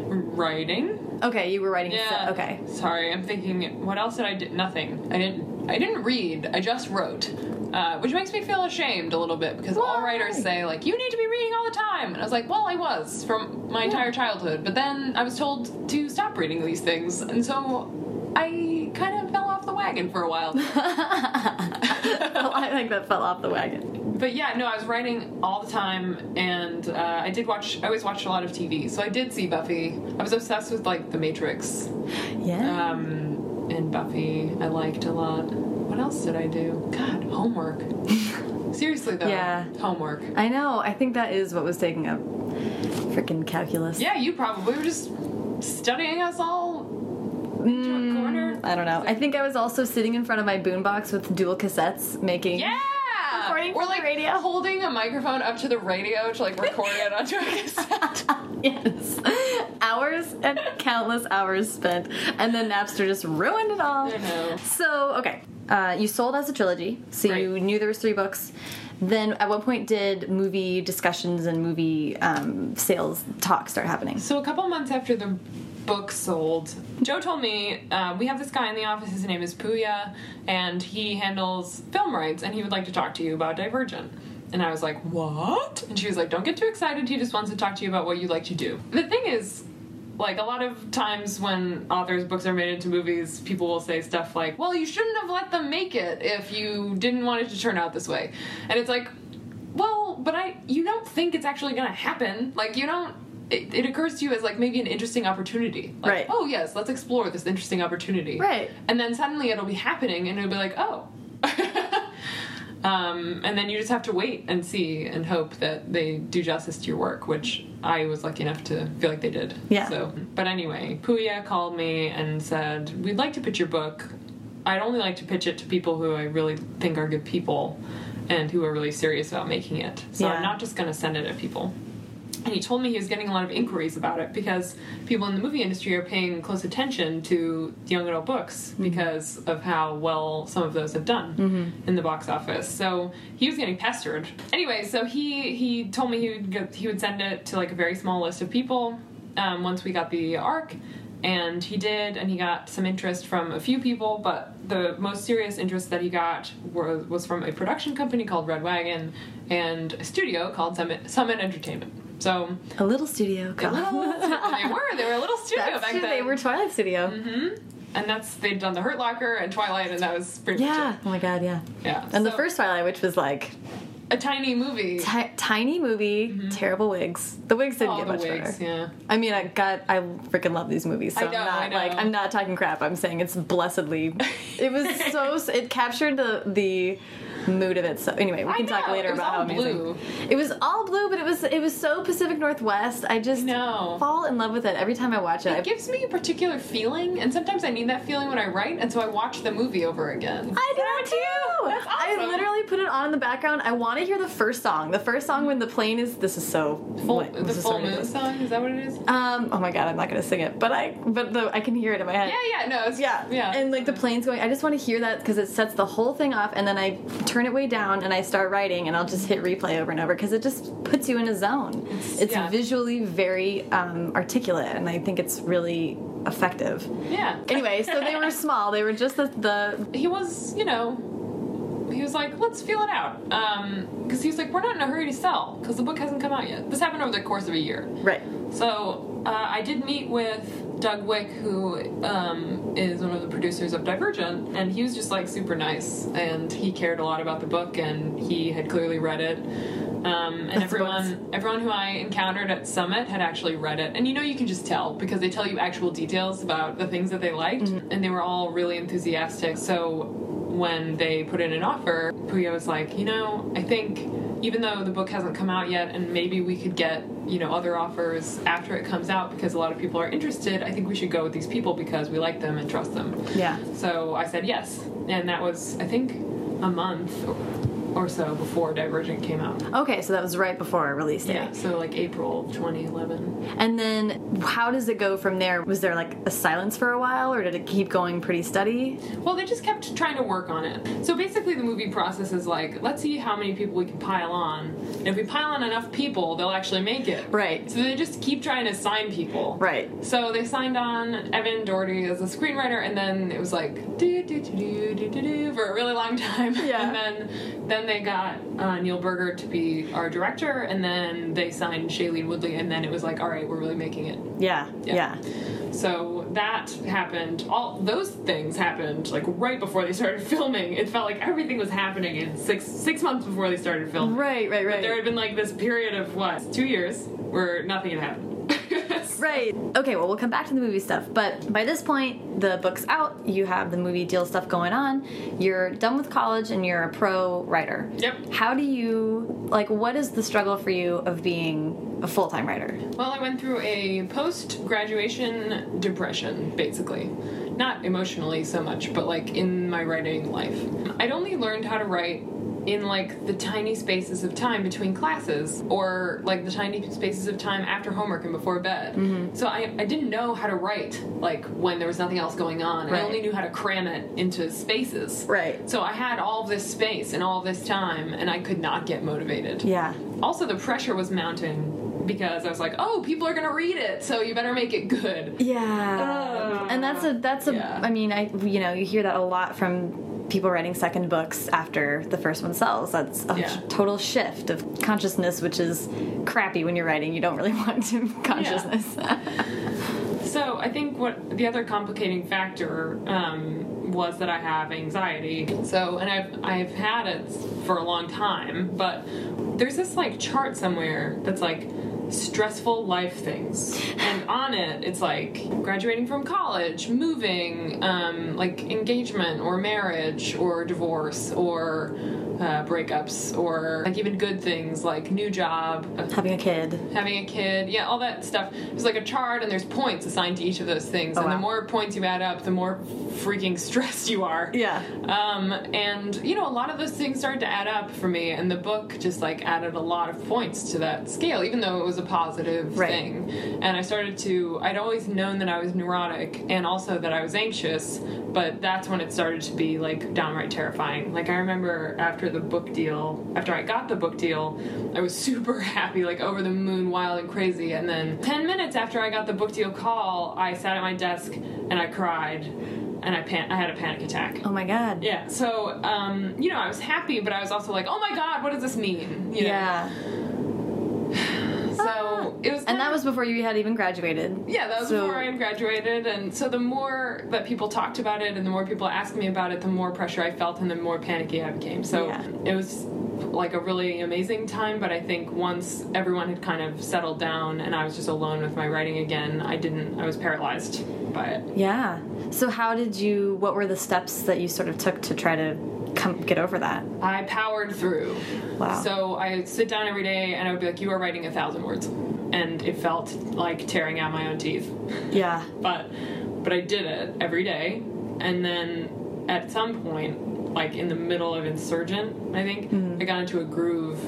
[SPEAKER 2] Writing.
[SPEAKER 1] Okay, you were writing.
[SPEAKER 2] Yeah.
[SPEAKER 1] so- okay.
[SPEAKER 2] Sorry, I'm thinking. What else did I do? Nothing. I didn't. I didn't read. I just wrote, uh, which makes me feel ashamed a little bit because all
[SPEAKER 1] Why?
[SPEAKER 2] writers say like you need to be reading all the time, and I was like, well, I was from my entire childhood, but then I was told to stop reading these things, and so I kind of fell off the wagon for a while.
[SPEAKER 1] Well, Oh, I think that fell off the wagon.
[SPEAKER 2] But yeah, no, I was writing all the time, and uh, I did watch. I always watched a lot of TV, so I did see Buffy. I was obsessed with like The Matrix
[SPEAKER 1] Yeah.
[SPEAKER 2] um, and Buffy I liked a lot. What else did I do? God, homework. Seriously though,
[SPEAKER 1] Yeah.
[SPEAKER 2] homework.
[SPEAKER 1] I know. I think that is what was taking up freaking calculus.
[SPEAKER 2] Yeah, you probably were just studying us all into a corner.
[SPEAKER 1] Mm, I don't know. I think I was also sitting in front of my boombox with dual cassettes, making.
[SPEAKER 2] Yeah,
[SPEAKER 1] Recording from
[SPEAKER 2] or
[SPEAKER 1] the
[SPEAKER 2] like
[SPEAKER 1] radio.
[SPEAKER 2] holding a microphone up to the radio to like record it onto a cassette.
[SPEAKER 1] Yes. Hours and countless hours spent, and then Napster just ruined it all.
[SPEAKER 2] I know.
[SPEAKER 1] So okay, uh, you sold as a trilogy, so you
[SPEAKER 2] Right.
[SPEAKER 1] knew there was three books. Then at what point did movie discussions and movie um, sales talk start happening?
[SPEAKER 2] So a couple months after the book sold, Joe told me uh, we have this guy in the office. His name is Puya, and he handles film rights, and he would like to talk to you about Divergent. And I was like, "What?" And she was like, "Don't get too excited. He just wants to talk to you about what you like to do." The thing is, like a lot of times when authors' books are made into movies, people will say stuff like, "Well, you shouldn't have let them make it if you didn't want it to turn out this way," and it's like, "Well, but I, you don't think it's actually going to happen. Like you don't." It, it occurs to you as like maybe an interesting opportunity. Like,
[SPEAKER 1] Right.
[SPEAKER 2] Oh yes, let's explore this interesting opportunity.
[SPEAKER 1] Right.
[SPEAKER 2] And then suddenly it'll be happening, and it'll be like, oh. Um, and then you just have to wait and see and hope that they do justice to your work, which I was lucky enough to feel like they did.
[SPEAKER 1] Yeah.
[SPEAKER 2] So, but anyway, Puya called me and said, "We'd like to pitch your book. I'd only like to pitch it to people who I really think are good people, and who are really serious about making it. So
[SPEAKER 1] Yeah.
[SPEAKER 2] I'm not just going to send it at people." And he told me he was getting a lot of inquiries about it because people in the movie industry are paying close attention to young adult books because of how well some of those have done in the box office. So he was getting pestered. Anyway, so he he told me he would go, he would send it to like a very small list of people um, once we got the arc. And he did, and he got some interest from a few people, but the most serious interest that he got was, was from a production company called Red Wagon and a studio called Summit, Summit Entertainment. So
[SPEAKER 1] A little studio.
[SPEAKER 2] they were. They were a little studio
[SPEAKER 1] That's
[SPEAKER 2] back
[SPEAKER 1] true.
[SPEAKER 2] then. Mm-hmm.
[SPEAKER 1] They were Twilight Studio.
[SPEAKER 2] and that's they'd done the Hurt Locker and Twilight, and that was pretty
[SPEAKER 1] Yeah.
[SPEAKER 2] much
[SPEAKER 1] Oh my god. Yeah.
[SPEAKER 2] it. Yeah.
[SPEAKER 1] And the
[SPEAKER 2] So,
[SPEAKER 1] first Twilight, which was like
[SPEAKER 2] a tiny movie.
[SPEAKER 1] ti- tiny movie, terrible wigs. The wigs didn't
[SPEAKER 2] Mm-hmm. all
[SPEAKER 1] get
[SPEAKER 2] the
[SPEAKER 1] much
[SPEAKER 2] wigs.
[SPEAKER 1] better.
[SPEAKER 2] Yeah.
[SPEAKER 1] I mean, I got I freaking love these movies. So
[SPEAKER 2] I
[SPEAKER 1] I
[SPEAKER 2] know,
[SPEAKER 1] am not
[SPEAKER 2] I know.
[SPEAKER 1] like I'm not talking crap. I'm saying it's blessedly. it was so s- it captured the the mood of it. So anyway, we
[SPEAKER 2] I
[SPEAKER 1] can talk
[SPEAKER 2] know,
[SPEAKER 1] later
[SPEAKER 2] it was
[SPEAKER 1] about
[SPEAKER 2] all
[SPEAKER 1] how amazing
[SPEAKER 2] blue.
[SPEAKER 1] it was. All blue, but it was it was so Pacific Northwest. I just
[SPEAKER 2] know.
[SPEAKER 1] fall in love with it every time I watch it. I-
[SPEAKER 2] It gives me a particular feeling, and sometimes I need that feeling when I write, and so I watch the movie over again.
[SPEAKER 1] I do that too.
[SPEAKER 2] That's
[SPEAKER 1] I
[SPEAKER 2] awesome.
[SPEAKER 1] literally put it on in the background. I want to hear the first song. The first song when the plane is. This is so.
[SPEAKER 2] Full,
[SPEAKER 1] what-
[SPEAKER 2] the
[SPEAKER 1] this is so
[SPEAKER 2] full moon
[SPEAKER 1] ridiculous.
[SPEAKER 2] song is that what it is?
[SPEAKER 1] Um. Oh my god, I'm not gonna sing it, but I. But the I can hear it in my head.
[SPEAKER 2] Yeah, yeah, no, it's,
[SPEAKER 1] Yeah,
[SPEAKER 2] yeah.
[SPEAKER 1] And like the plane's going, I just want to hear that because it sets the whole thing off, and then I turn it way down and I start writing, and I'll just hit replay over and over because it just puts you in a zone. It's,
[SPEAKER 2] yeah.
[SPEAKER 1] visually very um, articulate, and I think it's really effective.
[SPEAKER 2] yeah.
[SPEAKER 1] Anyway, so they were small; they were just the, the
[SPEAKER 2] he was, you know, he was like, let's feel it out. Because he was like, we're not in a hurry to sell because the book hasn't come out yet. This happened over the course of a year.
[SPEAKER 1] right.
[SPEAKER 2] So uh, I did meet with Doug Wick, who um, is one of the producers of Divergent, and he was just like super nice, and he cared a lot about the book, and he had clearly read it. Um, and
[SPEAKER 1] That's the bonus.
[SPEAKER 2] everyone, everyone who I encountered at Summit had actually read it, and you know you can just tell because they tell you actual details about the things that they liked, and they were all really enthusiastic. So when they put in an offer, Puya was like, you know, I think even though the book hasn't come out yet, and maybe we could get you know other offers after it comes out because a lot of people are interested. I think we should go with these people because we like them and trust them.
[SPEAKER 1] Yeah.
[SPEAKER 2] So I said yes, and that was I think a month or, or so before Divergent came out.
[SPEAKER 1] Okay, so that was right before our release date.
[SPEAKER 2] Yeah, so like April 2011.
[SPEAKER 1] And then, how does it go from there? Was there like a silence for a while, or did it keep going pretty steady?
[SPEAKER 2] Well, they just kept trying to work on it. So basically, the movie process is like, let's see how many people we can pile on. And if we pile on enough people, they'll actually make it.
[SPEAKER 1] Right.
[SPEAKER 2] So they just keep trying to sign people.
[SPEAKER 1] Right.
[SPEAKER 2] So they signed on Evan Doherty as a screenwriter, and then it was like do do do do do do do for a really long time.
[SPEAKER 1] Yeah.
[SPEAKER 2] And then then they got uh, Neil Berger to be our director, and then they signed Shailene Woodley, and then it was like, all right, we're really making it.
[SPEAKER 1] Yeah.
[SPEAKER 2] Yeah.
[SPEAKER 1] Yeah.
[SPEAKER 2] So that happened. All those things happened like right before they started filming. It felt like everything was happening in six six months before they started filming.
[SPEAKER 1] Right. Right. Right.
[SPEAKER 2] There had been like this period of what two years where nothing had happened.
[SPEAKER 1] Right. Okay, well, we'll come back to the movie stuff. But by this point, the book's out. You have the movie deal stuff going on. You're done with college and you're a pro writer.
[SPEAKER 2] Yep.
[SPEAKER 1] How do you, like, what is the struggle for you of being a full time writer?
[SPEAKER 2] Well, I went through a post graduation depression, basically. Not emotionally so much, but like in my writing life. I'd only learned how to write in like the tiny spaces of time between classes or like the tiny spaces of time after homework and before bed.
[SPEAKER 1] Mm-hmm.
[SPEAKER 2] So I, I didn't know how to write like when there was nothing else going on.
[SPEAKER 1] Right.
[SPEAKER 2] I only knew how to cram it into spaces.
[SPEAKER 1] Right.
[SPEAKER 2] So I had all this space and all this time and I could not get motivated.
[SPEAKER 1] Yeah.
[SPEAKER 2] Also, the pressure was mounting because I was like, oh, people are going to read it, so you better make it good.
[SPEAKER 1] Yeah.
[SPEAKER 2] Ugh.
[SPEAKER 1] and that's a that's a I
[SPEAKER 2] Uh, Yeah.
[SPEAKER 1] mean, I you know, you hear that a lot from people writing second books after the first one sells. That's a
[SPEAKER 2] Yeah.
[SPEAKER 1] total shift of consciousness, which is crappy when you're writing. You don't really want to consciousness.
[SPEAKER 2] So I think what the other complicating factor um, was that I have anxiety. So, and I've, I've had it for a long time, but there's this like chart somewhere that's like, stressful life things and on it it's like graduating from college moving um, like engagement or marriage or divorce or uh, breakups or like even good things like new job
[SPEAKER 1] Having a kid.
[SPEAKER 2] having a kid, yeah, all that stuff. There's like a chart, and there's points assigned to each of those things.
[SPEAKER 1] Oh,
[SPEAKER 2] and
[SPEAKER 1] wow.
[SPEAKER 2] the more points you add up, the more freaking stressed you are.
[SPEAKER 1] Yeah.
[SPEAKER 2] Um, and you know, a lot of those things started to add up for me, and the book just like added a lot of points to that scale, even though it was a positive
[SPEAKER 1] Right.
[SPEAKER 2] thing. And I started to, I'd always known that I was neurotic and also that I was anxious, but that's when it started to be like downright terrifying. Like, I remember after the book deal, after I got the book deal, I was super happy, like over the moon, wild and crazy. And then 10 minutes after I got the book deal call, I sat at my desk and I cried and I, pan- I had a panic attack.
[SPEAKER 1] Oh my god.
[SPEAKER 2] Yeah. So, um, you know, I was happy, but I was also like, oh my god, what does this mean? You know?
[SPEAKER 1] Yeah.
[SPEAKER 2] So it was.
[SPEAKER 1] And
[SPEAKER 2] kind
[SPEAKER 1] that
[SPEAKER 2] of-
[SPEAKER 1] was before you had even graduated.
[SPEAKER 2] Yeah, that was
[SPEAKER 1] so-
[SPEAKER 2] before I had graduated, and so the more that people talked about it, and the more people asked me about it, the more pressure I felt, and the more panicky I became. So
[SPEAKER 1] Yeah.
[SPEAKER 2] it was like a really amazing time, but I think once everyone had kind of settled down, and I was just alone with my writing again, I didn't. I was paralyzed by it.
[SPEAKER 1] Yeah. So how did you what were the steps that you sort of took to try to come get over that?
[SPEAKER 2] I powered through.
[SPEAKER 1] Wow.
[SPEAKER 2] So I would sit down every day and I would be like, You are writing a thousand words. And it felt like tearing out my own teeth.
[SPEAKER 1] Yeah.
[SPEAKER 2] But but I did it every day. And then at some point, like in the middle of Insurgent, I think,
[SPEAKER 1] Hmm.
[SPEAKER 2] I got into a groove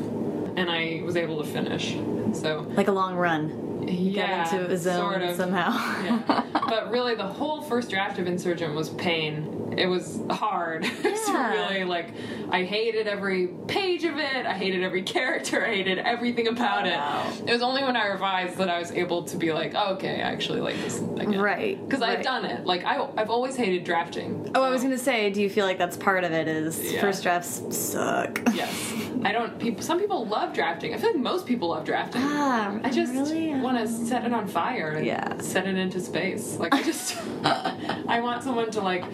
[SPEAKER 2] and I was able to finish. So
[SPEAKER 1] Like a long run. You
[SPEAKER 2] yeah,
[SPEAKER 1] got into a zone
[SPEAKER 2] sort of.
[SPEAKER 1] somehow.
[SPEAKER 2] Yeah. But really, the whole first draft of Insurgent was pain. It was hard. It was
[SPEAKER 1] Yeah.
[SPEAKER 2] really like I hated every page of it. I hated every character. I hated everything about it.
[SPEAKER 1] Wow.
[SPEAKER 2] It was only when I revised that I was able to be like, oh, okay, I actually like this again.
[SPEAKER 1] Right,
[SPEAKER 2] Because
[SPEAKER 1] right.
[SPEAKER 2] I've done it. Like I, I've always hated drafting.
[SPEAKER 1] Oh, I was
[SPEAKER 2] so-
[SPEAKER 1] gonna say, do you feel like that's part of it? Is
[SPEAKER 2] Yeah.
[SPEAKER 1] first drafts suck?
[SPEAKER 2] Yes. I don't. People. Some people love drafting. I feel like most people love drafting.
[SPEAKER 1] Ah,
[SPEAKER 2] I just
[SPEAKER 1] really?
[SPEAKER 2] want to set it on fire and
[SPEAKER 1] Yeah.
[SPEAKER 2] set it into space. Like I just, I want someone to like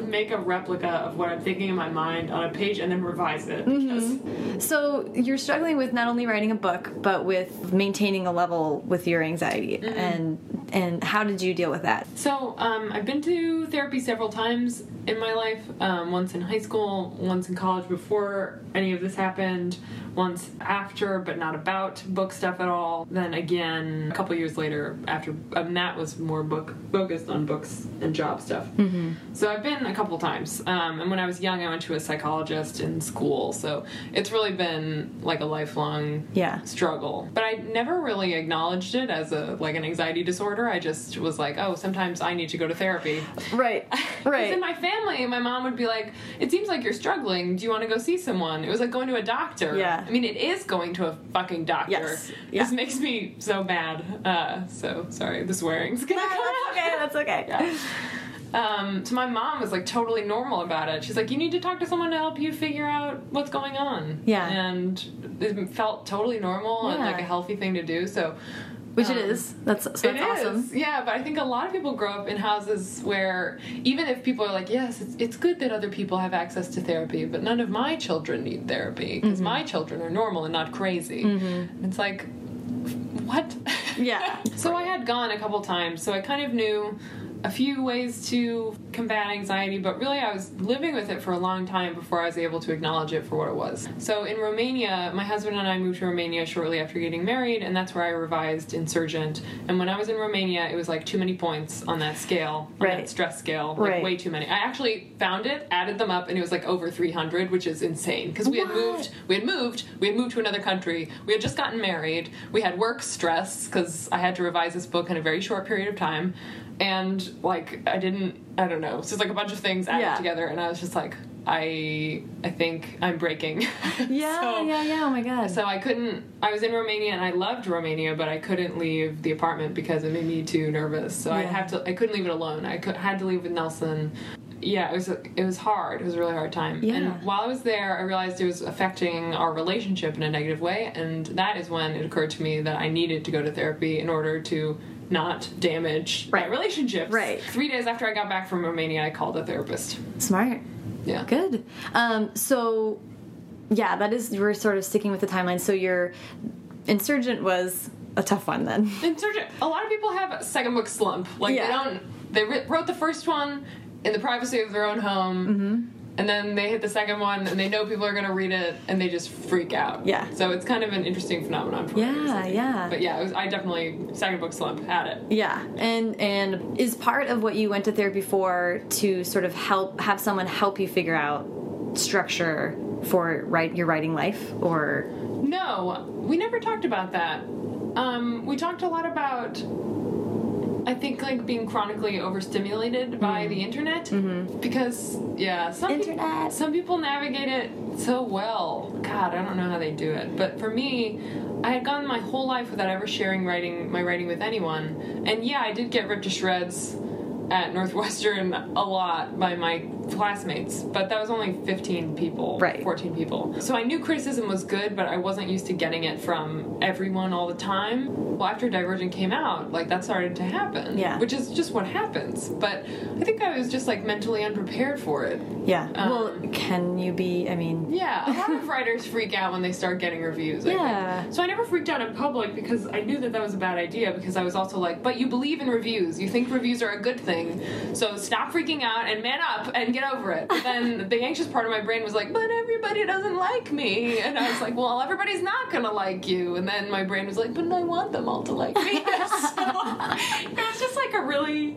[SPEAKER 2] make a replica of what I'm thinking in my mind on a page and then revise it.
[SPEAKER 1] Mm-hmm.
[SPEAKER 2] Because-
[SPEAKER 1] So you're struggling with not only writing a book, but with maintaining a level with your anxiety,
[SPEAKER 2] Mm-hmm.
[SPEAKER 1] and and how did you deal with that?
[SPEAKER 2] So um, I've been to therapy several times in my life. Um, once in high school, once in college before any of this happened, once after, but not about book stuff at all. Then again, a couple years later, after um, that was more book focused on books and job stuff.
[SPEAKER 1] Mm-hmm.
[SPEAKER 2] So I've been a couple times, um, and when I was young, I went to a psychologist in school. So it's really been like a lifelong
[SPEAKER 1] Yeah.
[SPEAKER 2] struggle. But I never really acknowledged it as a like an anxiety disorder. I just was like, oh, sometimes I need to go to therapy.
[SPEAKER 1] Right,
[SPEAKER 2] 'Cause In my family, my mom would be like, "It seems like you're struggling. Do you want to go see someone?" It was like going to a doctor.
[SPEAKER 1] Yeah.
[SPEAKER 2] I mean, it is going to a fucking doctor.
[SPEAKER 1] Yes. Yeah.
[SPEAKER 2] This makes me so mad. Uh, so sorry, the swearing's gonna come out.
[SPEAKER 1] that's okay. That's okay.
[SPEAKER 2] Um, so my mom was like totally normal about it. She's like, you need to talk to someone to help you figure out what's going on.
[SPEAKER 1] Yeah.
[SPEAKER 2] And it felt totally normal and
[SPEAKER 1] Yeah.
[SPEAKER 2] like a healthy thing to do. So
[SPEAKER 1] Which it
[SPEAKER 2] Um,
[SPEAKER 1] is. That's so that's
[SPEAKER 2] it is,
[SPEAKER 1] awesome.
[SPEAKER 2] Yeah, but I think a lot of people grow up in houses where even if people are like, yes, it's, it's good that other people have access to therapy, but none of my children need therapy because
[SPEAKER 1] Mm-hmm.
[SPEAKER 2] my children are normal and not crazy. It's like, what?
[SPEAKER 1] Yeah.
[SPEAKER 2] so I had gone a couple times, so I kind of knew a few ways to combat anxiety, but really I was living with it for a long time before I was able to acknowledge it for what it was. So in Romania, my husband and I moved to Romania shortly after getting married, and that's where I revised Insurgent. And when I was in Romania, it was like too many points on that scale, on
[SPEAKER 1] Right.
[SPEAKER 2] that stress scale, like
[SPEAKER 1] Right.
[SPEAKER 2] way too many. I actually found it, added them up, and it was like over 300, which is insane because we had
[SPEAKER 1] What?
[SPEAKER 2] moved, we had moved, we had moved to another country, we had just gotten married, we had work stress because I had to revise this book in a very short period of time, and like I didn't, I don't know, so it's like a bunch of things added
[SPEAKER 1] Yeah.
[SPEAKER 2] together, and I was just like, I, I think I'm breaking.
[SPEAKER 1] Yeah,
[SPEAKER 2] So-
[SPEAKER 1] yeah, yeah. Oh my god.
[SPEAKER 2] so I couldn't. I was in Romania and I loved Romania, but I couldn't leave the apartment because it made me too nervous. So I
[SPEAKER 1] Yeah.
[SPEAKER 2] have to. I couldn't leave it alone. I could, had to leave with Nelson. Yeah, it was it was hard. It was a really hard time.
[SPEAKER 1] Yeah.
[SPEAKER 2] And while I was there, I realized it was affecting our relationship in a negative way, and that is when it occurred to me that I needed to go to therapy in order to not damage
[SPEAKER 1] Right.
[SPEAKER 2] my relationships.
[SPEAKER 1] Right.
[SPEAKER 2] Three days after I got back from Romania, I called a therapist.
[SPEAKER 1] Smart.
[SPEAKER 2] Yeah.
[SPEAKER 1] Good. Um, so, yeah, that is, we're sort of sticking with the timeline. So, your insurgent was a tough one then.
[SPEAKER 2] And Sergio, a lot of people have a second book slump. Like
[SPEAKER 1] Yeah.
[SPEAKER 2] they don't. They writ- wrote the first one in the privacy of their own home,
[SPEAKER 1] Mm-hmm.
[SPEAKER 2] and then they hit the second one, and they know people are going to read it, and they just freak out.
[SPEAKER 1] Yeah.
[SPEAKER 2] So it's kind of an interesting phenomenon. For writers,
[SPEAKER 1] Yeah,
[SPEAKER 2] I think.
[SPEAKER 1] yeah.
[SPEAKER 2] But yeah, it was, I definitely second book slump had it.
[SPEAKER 1] Yeah, and and is part of what you went to therapy for to sort of help have someone help you figure out structure for write your writing life or
[SPEAKER 2] No, we never talked about that. Um, we talked a lot about. I think like being chronically overstimulated by the internet because yeah, some peop-
[SPEAKER 1] Internet.
[SPEAKER 2] some people navigate it so well. God, I don't know how they do it. But for me, I had gone my whole life without ever sharing writing my writing with anyone. And yeah, I did get ripped to shreds at Northwestern a lot by my classmates, but that was only 15 people,
[SPEAKER 1] Right.
[SPEAKER 2] 14 people. So I knew criticism was good, but I wasn't used to getting it from everyone all the time. Well, after Divergent came out, like that started to happen,
[SPEAKER 1] Yeah.
[SPEAKER 2] which is just what happens. But I think I was just like mentally unprepared for it.
[SPEAKER 1] yeah.
[SPEAKER 2] Um,
[SPEAKER 1] well, can you be? I mean,
[SPEAKER 2] Yeah, a lot of writers freak out when they start getting reviews. I
[SPEAKER 1] Yeah.
[SPEAKER 2] Think. So I never freaked out in public because I knew that that was a bad idea because I was also like, but you believe in reviews. You think reviews are a good thing. So stop freaking out and man up and get over it. But then the anxious part of my brain was like, but everybody doesn't like me. And I was like, well, everybody's not going to like you. And then my brain was like, but I want them all to like me. so it was just like a really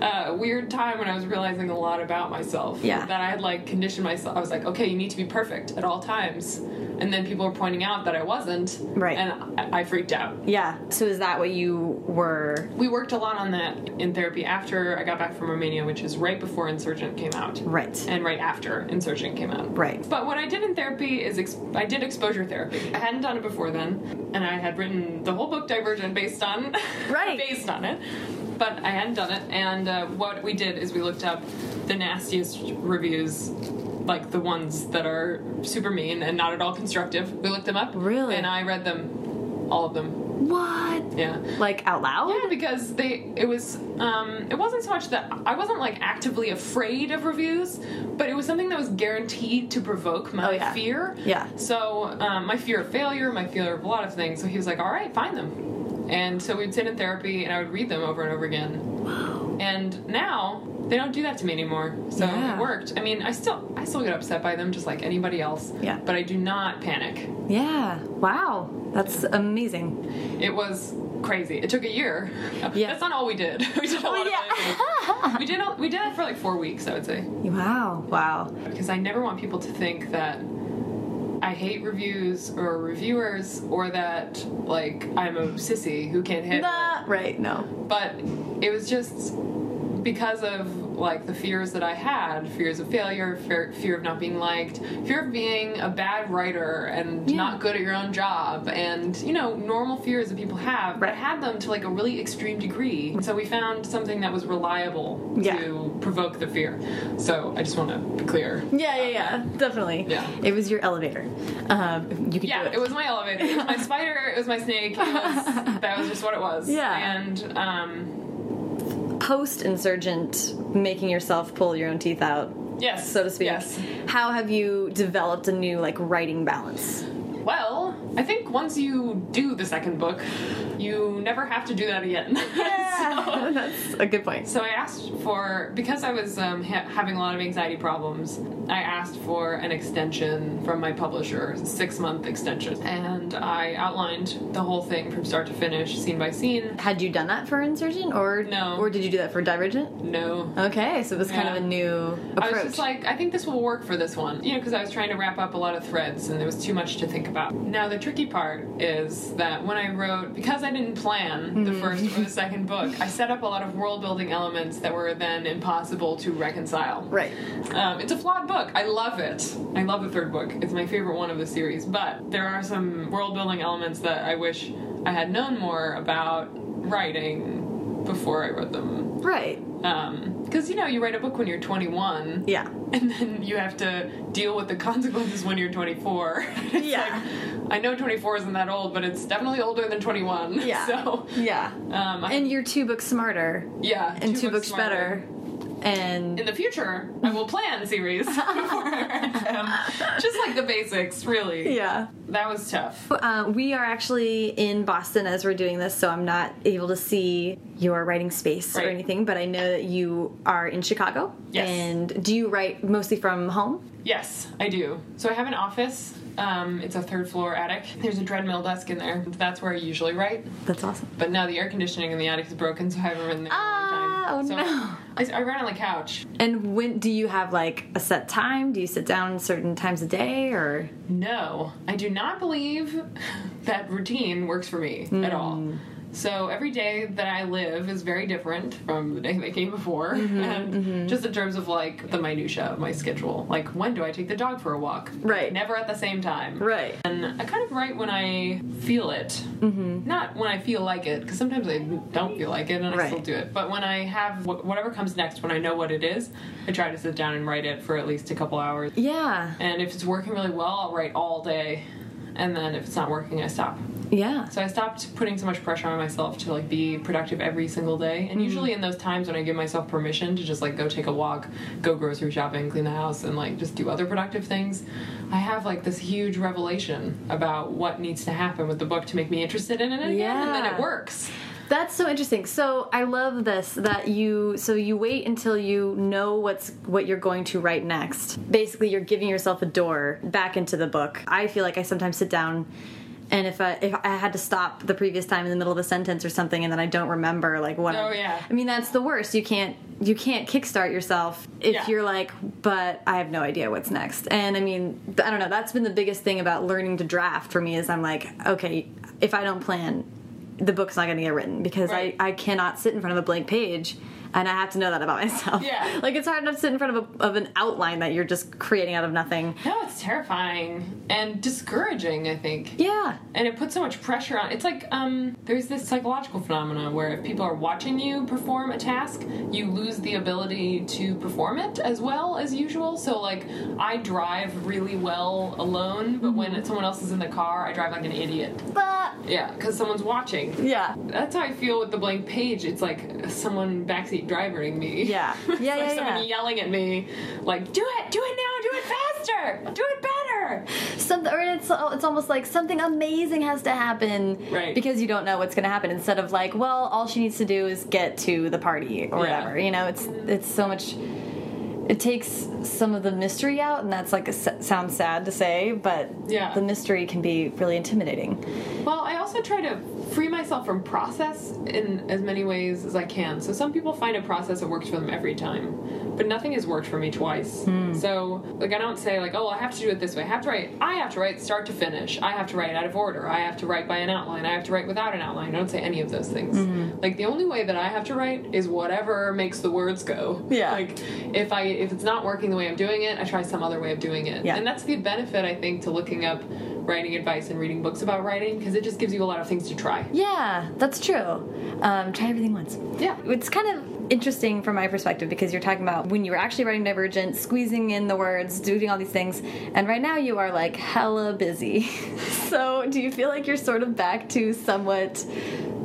[SPEAKER 2] uh, weird time when I was realizing a lot about myself.
[SPEAKER 1] Yeah.
[SPEAKER 2] That I had like conditioned myself. I was like, okay, you need to be perfect at all times. And then people were pointing out that I wasn't.
[SPEAKER 1] Right.
[SPEAKER 2] And I, I freaked out.
[SPEAKER 1] yeah. So is that what you were?
[SPEAKER 2] We worked a lot on that in therapy after I got back from Romania, which is right before Insurgent came out.
[SPEAKER 1] Right.
[SPEAKER 2] And right after Insurgent came out.
[SPEAKER 1] Right.
[SPEAKER 2] But what I did in therapy is ex- I did exposure therapy. I hadn't done it before then, and I had written the whole book Divergent based on
[SPEAKER 1] Right.
[SPEAKER 2] based on it. But I hadn't done it, and uh, what we did is we looked up the nastiest reviews, like the ones that are super mean and not at all constructive. We looked them up,
[SPEAKER 1] Really?
[SPEAKER 2] and I read them, all of them.
[SPEAKER 1] What?
[SPEAKER 2] Yeah.
[SPEAKER 1] Like out loud?
[SPEAKER 2] Yeah, because they it was um it wasn't so much that I wasn't like actively afraid of reviews, but it was something that was guaranteed to provoke my
[SPEAKER 1] Oh, yeah.
[SPEAKER 2] fear.
[SPEAKER 1] Yeah.
[SPEAKER 2] So um, my fear of failure, my fear of a lot of things. So he was like, "All right, find them." And so we'd sit in therapy, and I would read them over and over again. And now they don't do that to me anymore. So
[SPEAKER 1] Yeah.
[SPEAKER 2] it worked. I mean, I still I still get upset by them just like anybody else.
[SPEAKER 1] Yeah.
[SPEAKER 2] But I do not panic.
[SPEAKER 1] Yeah. Wow. That's amazing.
[SPEAKER 2] It was crazy. It took a year.
[SPEAKER 1] Yeah.
[SPEAKER 2] That's not all we did. We did a lot
[SPEAKER 1] yeah.
[SPEAKER 2] of other things. We did all, we did it for like four weeks, I would say,
[SPEAKER 1] Wow. Wow.
[SPEAKER 2] because I never want people to think that I hate reviews or reviewers or that like I'm a sissy who can't handle it
[SPEAKER 1] Nah, right. No.
[SPEAKER 2] but it was just because of like the fears that I had fears of failure, fear, fear of not being liked, fear of being a bad writer and
[SPEAKER 1] Yeah.
[SPEAKER 2] not good at your own job, and you know, normal fears that people have, but I
[SPEAKER 1] Right.
[SPEAKER 2] had them to like a really extreme degree. So we found something that was reliable
[SPEAKER 1] Yeah.
[SPEAKER 2] to provoke the fear. So I just want to be clear.
[SPEAKER 1] Yeah. Yeah. Yeah. Definitely.
[SPEAKER 2] Yeah.
[SPEAKER 1] It was your elevator. Um, you could do
[SPEAKER 2] Yeah,
[SPEAKER 1] it.
[SPEAKER 2] it was my elevator. It was my spider. It was my snake. It was, that was just what it was.
[SPEAKER 1] Yeah.
[SPEAKER 2] And um,
[SPEAKER 1] post insurgent making yourself pull your own teeth out
[SPEAKER 2] yes,
[SPEAKER 1] so to speak
[SPEAKER 2] Yes.
[SPEAKER 1] how have you developed a new like writing balance
[SPEAKER 2] Well, I think once you do the second book, you never have to do that again. So-
[SPEAKER 1] that's a good point.
[SPEAKER 2] so I asked for because I was um, ha- having a lot of anxiety problems. I asked for an extension from my publisher, six month extension, and I outlined the whole thing from start to finish, scene by scene.
[SPEAKER 1] Had you done that for Insurgent, or
[SPEAKER 2] No.
[SPEAKER 1] or did you do that for Divergent?
[SPEAKER 2] No.
[SPEAKER 1] Okay, so it was kind of
[SPEAKER 2] Yeah.
[SPEAKER 1] a new approach.
[SPEAKER 2] I was just like, I think this will work for this one, you know, because I was trying to wrap up a lot of threads and there was too much to think about. Now the tricky part is that when I wrote, because I didn't plan the
[SPEAKER 1] Mm-hmm.
[SPEAKER 2] first or the second book, I set up a lot of world building elements that were then impossible to reconcile.
[SPEAKER 1] right.
[SPEAKER 2] Um, it's a flawed book. I love it. I love the third book. It's my favorite one of the series. But there are some world building elements that I wish I had known more about writing before I wrote them.
[SPEAKER 1] Right.
[SPEAKER 2] Because, you know, you write a book when you're 21.
[SPEAKER 1] Yeah.
[SPEAKER 2] And then you have to deal with the consequences when you're 24. It's
[SPEAKER 1] Yeah.
[SPEAKER 2] like, I know 24 isn't that old, but it's definitely older than 21.
[SPEAKER 1] Yeah.
[SPEAKER 2] So,
[SPEAKER 1] Yeah.
[SPEAKER 2] um, I-
[SPEAKER 1] And you're two books smarter,
[SPEAKER 2] yeah.
[SPEAKER 1] and two, books,
[SPEAKER 2] smarter.
[SPEAKER 1] better, and
[SPEAKER 2] in the future, I will plan series before I read them. Just like the basics, really.
[SPEAKER 1] yeah.
[SPEAKER 2] That was tough.
[SPEAKER 1] Uh, we are actually in Boston as we're doing this, so I'm not able to see your writing space or
[SPEAKER 2] Right.
[SPEAKER 1] anything, but I know that you are in Chicago.
[SPEAKER 2] Yes.
[SPEAKER 1] And do you write mostly from home?
[SPEAKER 2] Yes, I do. So I have an office. Um, it's a third floor attic. There's a treadmill desk in there. That's where I usually write.
[SPEAKER 1] That's awesome.
[SPEAKER 2] But now the air conditioning in the attic is broken, so I haven't written there in a long
[SPEAKER 1] Ah,
[SPEAKER 2] time.
[SPEAKER 1] oh
[SPEAKER 2] so
[SPEAKER 1] no.
[SPEAKER 2] I, I write on the couch.
[SPEAKER 1] And when do you have like a set time? Do you sit down certain times a day or
[SPEAKER 2] No, I do not believe that routine works for me at
[SPEAKER 1] Hmm.
[SPEAKER 2] all. So every day that I live is very different from the day that came before,
[SPEAKER 1] Mm-hmm,
[SPEAKER 2] and just in terms of like the minutia of my schedule, like when do I take the dog for a walk?
[SPEAKER 1] Right.
[SPEAKER 2] Never at the same time.
[SPEAKER 1] Right.
[SPEAKER 2] And I kind of write when I feel it, mm-hmm. not when I feel like it, because sometimes I don't feel like it and I
[SPEAKER 1] Right.
[SPEAKER 2] still do it. But when I have wh- whatever comes next, when I know what it is, I try to sit down and write it for at least a couple hours.
[SPEAKER 1] Yeah.
[SPEAKER 2] And if it's working really well, I'll write all day. And then if it's not working, I stop.
[SPEAKER 1] Yeah.
[SPEAKER 2] So I stopped putting so much pressure on myself to like be productive every single day. And usually in those times when I give myself permission to just like go take a walk, go grocery shopping, clean the house and like just do other productive things, I have like this huge revelation about what needs to happen with the book to make me interested in it again and then it
[SPEAKER 1] Yeah.
[SPEAKER 2] works.
[SPEAKER 1] That's so interesting. So I love this that you so you wait until you know what's what you're going to write next. Basically, you're giving yourself a door back into the book. I feel like I sometimes sit down and if I if I had to stop the previous time in the middle of a sentence or something and then I don't remember like what
[SPEAKER 2] Oh,
[SPEAKER 1] I,
[SPEAKER 2] yeah.
[SPEAKER 1] I mean that's the worst. You can't you can't kickstart yourself if
[SPEAKER 2] Yeah.
[SPEAKER 1] you're like but I have no idea what's next. And I mean I don't know, that's been the biggest thing about learning to draft for me is I'm like okay, if I don't plan the book's not going to get written because
[SPEAKER 2] Right.
[SPEAKER 1] I, I cannot sit in front of a blank page and I have to know that about myself.
[SPEAKER 2] Yeah.
[SPEAKER 1] Like it's hard enough to sit in front of, a, of an outline that you're just creating out of nothing.
[SPEAKER 2] No, it's terrifying and discouraging, I think.
[SPEAKER 1] Yeah.
[SPEAKER 2] and it puts so much pressure on it's like um there's this psychological phenomenon where if people are watching you perform a task you lose the ability to perform it as well as usual so like i drive really well alone
[SPEAKER 1] Mm-hmm.
[SPEAKER 2] but when someone else is in the car i drive like an idiot
[SPEAKER 1] But
[SPEAKER 2] yeah because someone's watching
[SPEAKER 1] yeah.
[SPEAKER 2] that's how I feel with the blank page. It's like someone backseat driving me.
[SPEAKER 1] Yeah.
[SPEAKER 2] it's
[SPEAKER 1] Yeah,
[SPEAKER 2] like
[SPEAKER 1] yeah,
[SPEAKER 2] someone
[SPEAKER 1] yeah.
[SPEAKER 2] yelling at me, like, do it, do it now, do it faster, do it better.
[SPEAKER 1] Some, or it's it's almost like something amazing has to happen
[SPEAKER 2] Right.
[SPEAKER 1] because you don't know what's going to happen instead of like well all she needs to do is get to the party or
[SPEAKER 2] Yeah.
[SPEAKER 1] whatever. You know, it's it's so much it takes some of the mystery out and that's like a, s- sounds sad to say, but
[SPEAKER 2] Yeah.
[SPEAKER 1] the mystery can be really intimidating.
[SPEAKER 2] Well, I also try to free myself from process in as many ways as I can. So some people find a process that works for them every time, but nothing has worked for me twice. So like I don't say like, oh, I have to do it this way. I have to write. I have to write start to finish. I have to write out of order. I have to write by an outline. I have to write without an outline. I don't say any of those things. Like the only way that I have to write is whatever makes the words go.
[SPEAKER 1] Yeah.
[SPEAKER 2] Like if I if it's not working the way I'm doing it, I try some other way of doing it.
[SPEAKER 1] Yeah.
[SPEAKER 2] And that's the benefit I think to looking up writing advice and reading books about writing because it just gives you a lot of things to try.
[SPEAKER 1] Yeah, that's true. Um, try everything once.
[SPEAKER 2] Yeah.
[SPEAKER 1] It's kind of interesting from my perspective because you're talking about when you were actually writing Divergent, squeezing in the words, doing all these things, and right now you are like hella busy. so do you feel like you're sort of back to somewhat?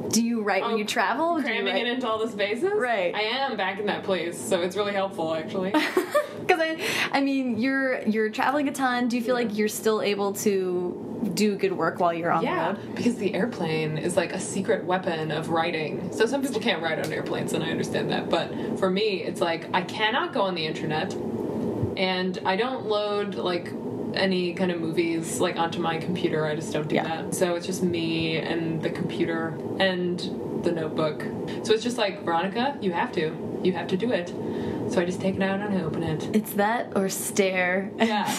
[SPEAKER 1] Do you write when
[SPEAKER 2] Oh,
[SPEAKER 1] you travel? Do you
[SPEAKER 2] Cramming
[SPEAKER 1] write-
[SPEAKER 2] it into all the spaces?
[SPEAKER 1] Right.
[SPEAKER 2] I am back in that place, so it's really helpful, actually.
[SPEAKER 1] Because I, I mean, you're you're traveling a ton. Do you feel like you're still able to do good work while you're on
[SPEAKER 2] yeah.
[SPEAKER 1] the road?
[SPEAKER 2] Because the airplane is like a secret weapon of writing. So some people can't write on airplanes, and I understand that. But for me, it's like I cannot go on the internet, and I don't load like any kind of movies like onto my computer. I just don't do
[SPEAKER 1] Yeah.
[SPEAKER 2] that. So it's just me and the computer and the notebook. So it's just like Veronica, you have to, you have to do it. So I just take it out and I open it.
[SPEAKER 1] It's that or stare
[SPEAKER 2] Yeah,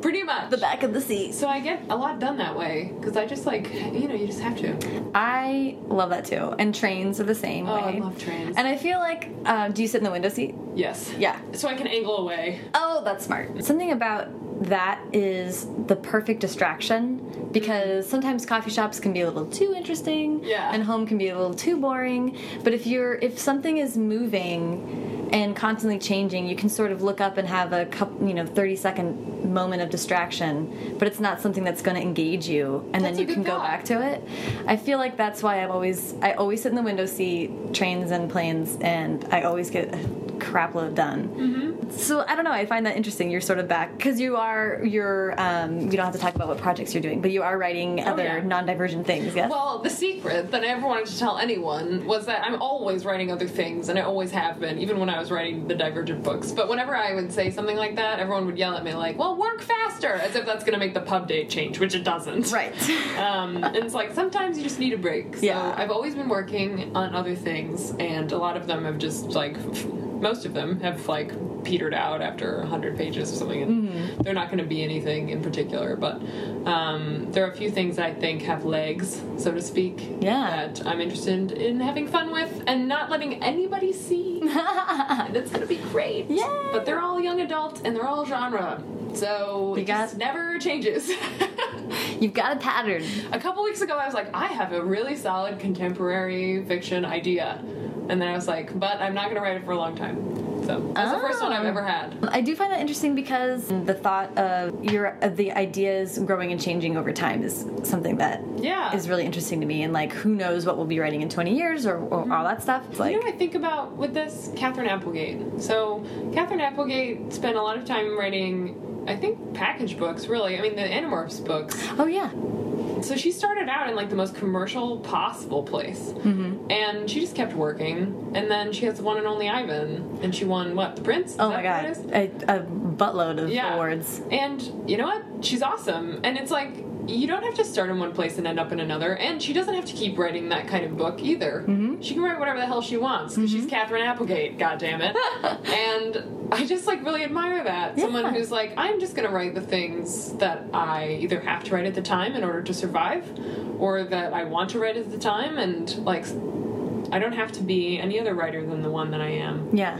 [SPEAKER 2] pretty much.
[SPEAKER 1] the back of the seat.
[SPEAKER 2] So I get a lot done that way because I just like you know you just have to.
[SPEAKER 1] I love that too. And trains are the same
[SPEAKER 2] Oh, I
[SPEAKER 1] way.
[SPEAKER 2] love trains.
[SPEAKER 1] And I feel like, um, do you sit in the window seat?
[SPEAKER 2] Yes.
[SPEAKER 1] Yeah.
[SPEAKER 2] So I can angle away.
[SPEAKER 1] Oh, that's smart. Something about that is the perfect distraction because sometimes coffee shops can be a little too interesting
[SPEAKER 2] Yeah.
[SPEAKER 1] and home can be a little too boring, but if you're if something is moving and constantly changing, you can sort of look up and have a couple, you know, 30 second moment of distraction, but it's not something that's going to engage you and
[SPEAKER 2] That's
[SPEAKER 1] then
[SPEAKER 2] a
[SPEAKER 1] you
[SPEAKER 2] good
[SPEAKER 1] can go
[SPEAKER 2] thought.
[SPEAKER 1] back to it. I feel like that's why I've always I always sit in the window seat, trains and planes and I always get a crap load done. So I don't know. I find that interesting. You're sort of back because you are you're um, you don't have to talk about what projects you're doing, but you are writing other
[SPEAKER 2] Oh, yeah.
[SPEAKER 1] non-divergent things. Yes.
[SPEAKER 2] Well, the secret that I ever wanted to tell anyone was that I'm always writing other things, and I always have been, even when I was writing the Divergent books. But whenever I would say something like that, everyone would yell at me like, "Well, work faster," as if that's going to make the pub date change, which it doesn't.
[SPEAKER 1] right.
[SPEAKER 2] um, and it's like sometimes you just need a break. So
[SPEAKER 1] Yeah.
[SPEAKER 2] I've always been working on other things, and a lot of them have just like, f- most of them have like petered out after 100 pages or something, and
[SPEAKER 1] Mm-hmm.
[SPEAKER 2] they're not going to be anything in particular. But um, there are a few things that I think have legs, so to speak,
[SPEAKER 1] Yeah.
[SPEAKER 2] that I'm interested in having fun with and not letting anybody see. and it's going to be great.
[SPEAKER 1] Yay.
[SPEAKER 2] But they're all young adult and they're all genre. So
[SPEAKER 1] You
[SPEAKER 2] it just
[SPEAKER 1] got-
[SPEAKER 2] never changes.
[SPEAKER 1] You've got a pattern.
[SPEAKER 2] A couple weeks ago, I was like, I have a really solid contemporary fiction idea. And then I was like, but I'm not going to write it for a long time. So that's the first one I've
[SPEAKER 1] Oh.
[SPEAKER 2] ever had.
[SPEAKER 1] I do find that interesting because the thought of your of the ideas growing and changing over time is something that is
[SPEAKER 2] Yeah.
[SPEAKER 1] really interesting to me. And like, who knows what we'll be writing in 20 years or, or all that stuff. It's like,
[SPEAKER 2] Mm-hmm. you know what I think about with this? Catherine Applegate. So, Catherine Applegate spent a lot of time writing, I think, package books, really. I mean, the Animorphs books.
[SPEAKER 1] oh yeah,
[SPEAKER 2] So she started out in like the most commercial possible place,
[SPEAKER 1] Mm-hmm.
[SPEAKER 2] and she just kept working. And then she has one and only Ivan, and she won what the Prince? Is
[SPEAKER 1] oh
[SPEAKER 2] that
[SPEAKER 1] my
[SPEAKER 2] what it is?
[SPEAKER 1] god, a, a buttload of awards.
[SPEAKER 2] And you know what? She's awesome. And it's like you don't have to start in one place and end up in another. And she doesn't have to keep writing that kind of book either. She can write whatever the hell she wants 'cause she's Catherine Applegate. God damn it. and I just like really admire that
[SPEAKER 1] Yeah.
[SPEAKER 2] someone who's like, I'm just gonna write the things that I either have to write at the time in order to survive, or that I want to write at the time, and like. I don't have to be any other writer than the one that I am.
[SPEAKER 1] Yeah.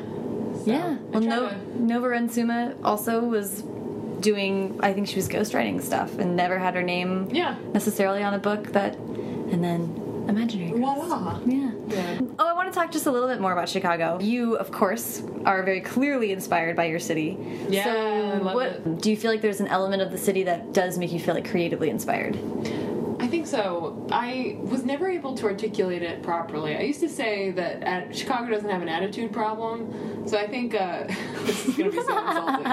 [SPEAKER 1] yeah.
[SPEAKER 2] I
[SPEAKER 1] Well,
[SPEAKER 2] try
[SPEAKER 1] no,
[SPEAKER 2] to-
[SPEAKER 1] Nova Rensuma also was doing, I think she was ghostwriting stuff and never had her name
[SPEAKER 2] Yeah.
[SPEAKER 1] necessarily on a book that, and then Imaginary. Girls.
[SPEAKER 2] Voila.
[SPEAKER 1] Yeah.
[SPEAKER 2] Yeah.
[SPEAKER 1] Oh, I want to talk just a little bit more about Chicago. You, of course, are very clearly inspired by your city.
[SPEAKER 2] Yeah,
[SPEAKER 1] So
[SPEAKER 2] I love
[SPEAKER 1] what
[SPEAKER 2] it.
[SPEAKER 1] do you feel like there's an element of the city that does make you feel like creatively inspired?
[SPEAKER 2] I think so. I was never able to articulate it properly. I used to say that at, Chicago doesn't have an attitude problem, so I think uh, this is going to be so insulting.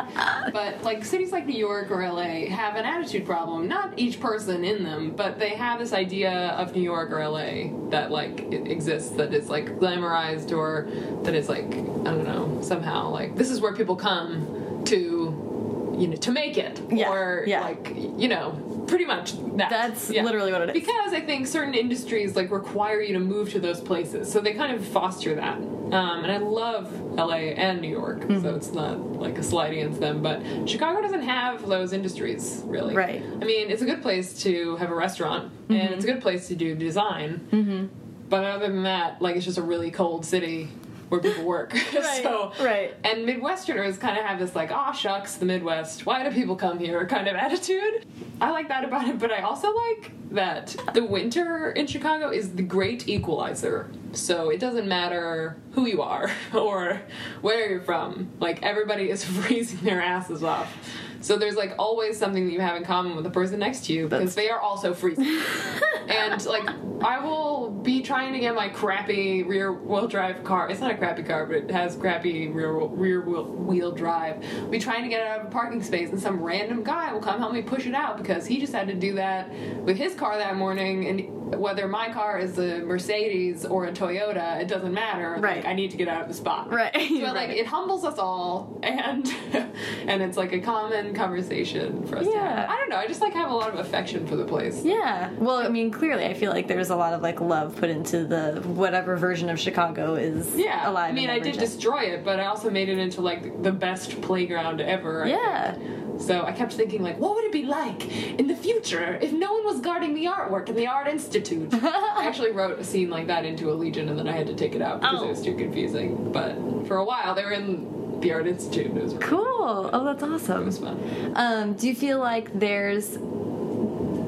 [SPEAKER 2] But like cities like New York or LA have an attitude problem. Not each person in them, but they have this idea of New York or LA that like it exists that is like glamorized or that is like I don't know somehow like this is where people come to you know to make it
[SPEAKER 1] Yeah,
[SPEAKER 2] or
[SPEAKER 1] yeah.
[SPEAKER 2] like you know pretty much that
[SPEAKER 1] That's literally what it is.
[SPEAKER 2] because I think certain industries like require you to move to those places, so they kind of foster that. Um, and I love LA and New York,
[SPEAKER 1] Mm-hmm.
[SPEAKER 2] so it's not like a slight against them, but Chicago doesn't have those industries really.
[SPEAKER 1] Right. Mm-hmm.
[SPEAKER 2] I mean, it's a good place to have a restaurant, and it's a good place to do design. But other than that, like it's just a really cold city where people work. so
[SPEAKER 1] right.
[SPEAKER 2] and Midwesterners kind of have this like, ah, shucks, the Midwest. Why do people come here? Kind of attitude. I like that about it, but I also like that the winter in Chicago is the great equalizer. So it doesn't matter who you are or where you're from. Like everybody is freezing their asses off. So there's like always something that you have in common with the person next to you because they are also freezing. and like I will be trying to get my crappy rear wheel drive car. It's not a crappy car, but it has crappy rear rear wheel, wheel drive. I'll be trying to get it out of a parking space, and some random guy will come help me push it out because he just had to do that with his car that morning. And whether my car is a Mercedes or a Toyota, it doesn't matter. Like,
[SPEAKER 1] Right.
[SPEAKER 2] I need to get out of the spot.
[SPEAKER 1] Right,
[SPEAKER 2] So like
[SPEAKER 1] right.
[SPEAKER 2] it humbles us all, and and it's like a common conversation for us to
[SPEAKER 1] Yeah.
[SPEAKER 2] have. I don't know. I just like have a lot of affection for the place.
[SPEAKER 1] Yeah. Well, I mean, clearly, I feel like there's a lot of like love put into the whatever version of Chicago is
[SPEAKER 2] Yeah,
[SPEAKER 1] alive.
[SPEAKER 2] I mean,
[SPEAKER 1] and
[SPEAKER 2] I did
[SPEAKER 1] emergent.
[SPEAKER 2] destroy it, but I also made it into like the best playground ever. I
[SPEAKER 1] Yeah.
[SPEAKER 2] think. So I kept thinking, like, what would it be like in the future if no one was guarding the artwork in the Art Institute? I actually wrote a scene like that into a Legion, and then I had to take it out because
[SPEAKER 1] Oh.
[SPEAKER 2] it was too confusing. But for a while, they were in the Art Institute. and It was really
[SPEAKER 1] Cool. Oh, that's
[SPEAKER 2] It
[SPEAKER 1] awesome.
[SPEAKER 2] was fun.
[SPEAKER 1] Um, do you feel like there's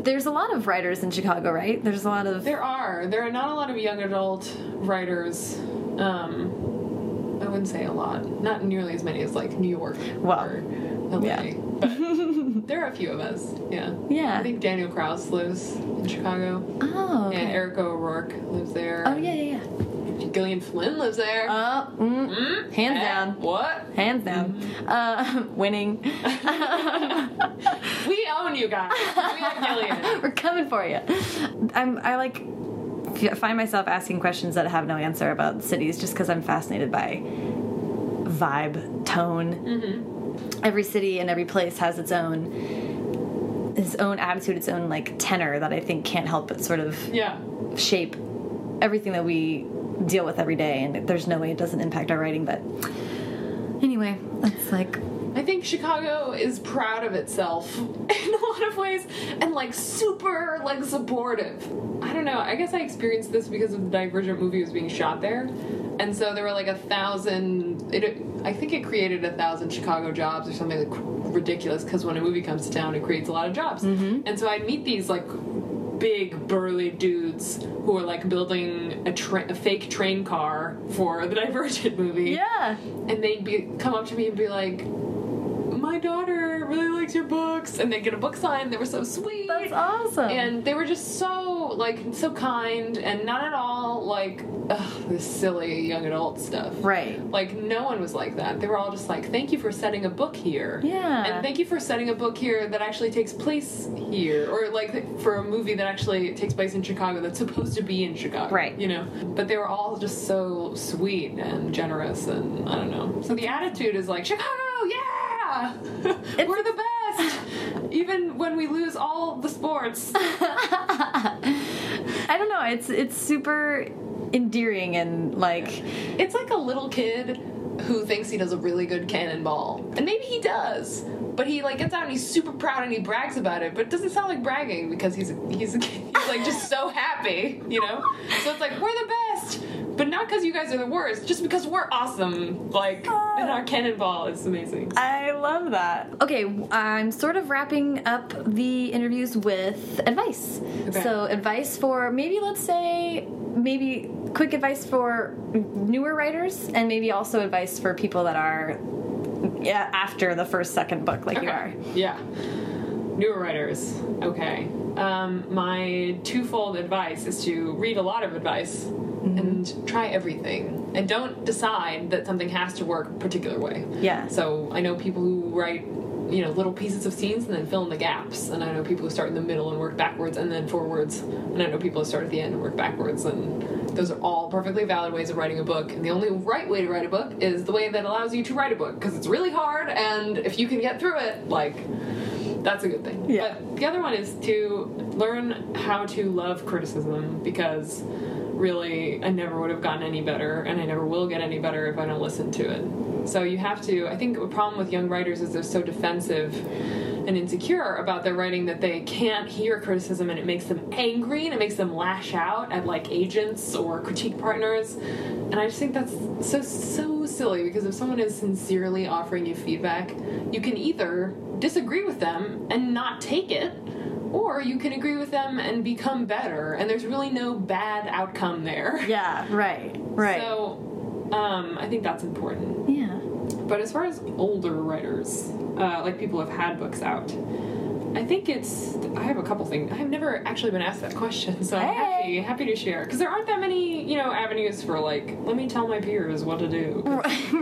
[SPEAKER 1] there's a lot of writers in Chicago, right? There's a lot of
[SPEAKER 2] There are there are not a lot of young adult writers. Um, I wouldn't say a lot. Not nearly as many as like New York
[SPEAKER 1] Well,
[SPEAKER 2] or LA.
[SPEAKER 1] yeah.
[SPEAKER 2] But there are a few of us. Yeah.
[SPEAKER 1] Yeah.
[SPEAKER 2] I think Daniel Krauss lives in Chicago,
[SPEAKER 1] oh okay.
[SPEAKER 2] and Erica O'Rourke lives there.
[SPEAKER 1] oh yeah yeah yeah.
[SPEAKER 2] Gillian Flynn lives there.
[SPEAKER 1] Uh, mm,
[SPEAKER 2] Mm,
[SPEAKER 1] hands
[SPEAKER 2] eh,
[SPEAKER 1] down.
[SPEAKER 2] What?
[SPEAKER 1] hands down, uh, winning.
[SPEAKER 2] We own you guys. We have Gillian.
[SPEAKER 1] We're coming for you. I'm I like f- find myself asking questions that have no answer about cities just because I'm fascinated by vibe, tone.
[SPEAKER 2] Mm-hmm.
[SPEAKER 1] Every city and every place has its own its own attitude, its own like tenor that I think can't help but sort of
[SPEAKER 2] Yeah.
[SPEAKER 1] shape everything that we deal with every day and there's no way it doesn't impact our writing but anyway that's like
[SPEAKER 2] I think Chicago is proud of itself in a lot of ways and like super like supportive. I don't know. I guess I experienced this because of the Divergent movie was being shot there, and so there were like a thousand. It I think it created a thousand Chicago jobs or something like ridiculous because when a movie comes to town, it creates a lot of jobs. And so I meet these like big burly dudes who are like building a, tra- a fake train car for the Divergent movie
[SPEAKER 1] yeah
[SPEAKER 2] and they'd be come up to me and be like my daughter really likes your books and they'd get a book sign they were so sweet
[SPEAKER 1] that's awesome
[SPEAKER 2] and they were just so like so kind and not at all like ugh, this silly young adult stuff
[SPEAKER 1] right
[SPEAKER 2] like no one was like that they were all just like thank you for setting a book here
[SPEAKER 1] Yeah.
[SPEAKER 2] and thank you for setting a book here that actually takes place here or like for a movie that actually takes place in chicago that's supposed to be in chicago
[SPEAKER 1] Right.
[SPEAKER 2] you know but they were all just so sweet and generous and i don't know so the attitude is like chicago yeah we're the best even when we lose all the sports
[SPEAKER 1] i don't know it's it's super endearing and like
[SPEAKER 2] It's like a little kid who thinks he does a really good cannonball. And maybe he does. But he like gets out and he's super proud and he brags about it, but it doesn't sound like bragging because he's he's, he's like just so happy, you know? So it's like we're the best, but not because you guys are the worst, just because we're awesome. Like and
[SPEAKER 1] Ah.
[SPEAKER 2] our cannonball is amazing.
[SPEAKER 1] i love that okay i'm sort of wrapping up the interviews with advice
[SPEAKER 2] Okay.
[SPEAKER 1] so advice for maybe let's say maybe quick advice for newer writers and maybe also advice for people that are yeah after the first second book like you are
[SPEAKER 2] Yeah. Newer writers. Okay. Um, my twofold advice is to read a lot of advice and try everything. And don't decide that something has to work a particular way.
[SPEAKER 1] Yeah.
[SPEAKER 2] So I know people who write, you know, little pieces of scenes and then fill in the gaps. And I know people who start in the middle and work backwards and then forwards. And I know people who start at the end and work backwards. And those are all perfectly valid ways of writing a book. And the only right way to write a book is the way that allows you to write a book because it's really hard. And if you can get through it, like, that's a good thing.
[SPEAKER 1] Yeah.
[SPEAKER 2] But the other one is to learn how to love criticism because really I never would have gotten any better and I never will get any better if I don't listen to it. So you have to I think the problem with young writers is they're so defensive and insecure about their writing that they can't hear criticism and it makes them angry and it makes them lash out at like agents or critique partners. And I just think that's so so silly because if someone is sincerely offering you feedback, you can either disagree with them and not take it, or you can agree with them and become better. And there's really no bad outcome there.
[SPEAKER 1] yeah right right
[SPEAKER 2] So um, I think that's important.
[SPEAKER 1] yeah
[SPEAKER 2] But as far as older writers, uh, like people who have had books out, I think it's. I have a couple things. I've never actually been asked that question, so I'm happy,
[SPEAKER 1] Hey.
[SPEAKER 2] happy to share. Because there aren't that many, you know, avenues for like, let me tell my peers what to do.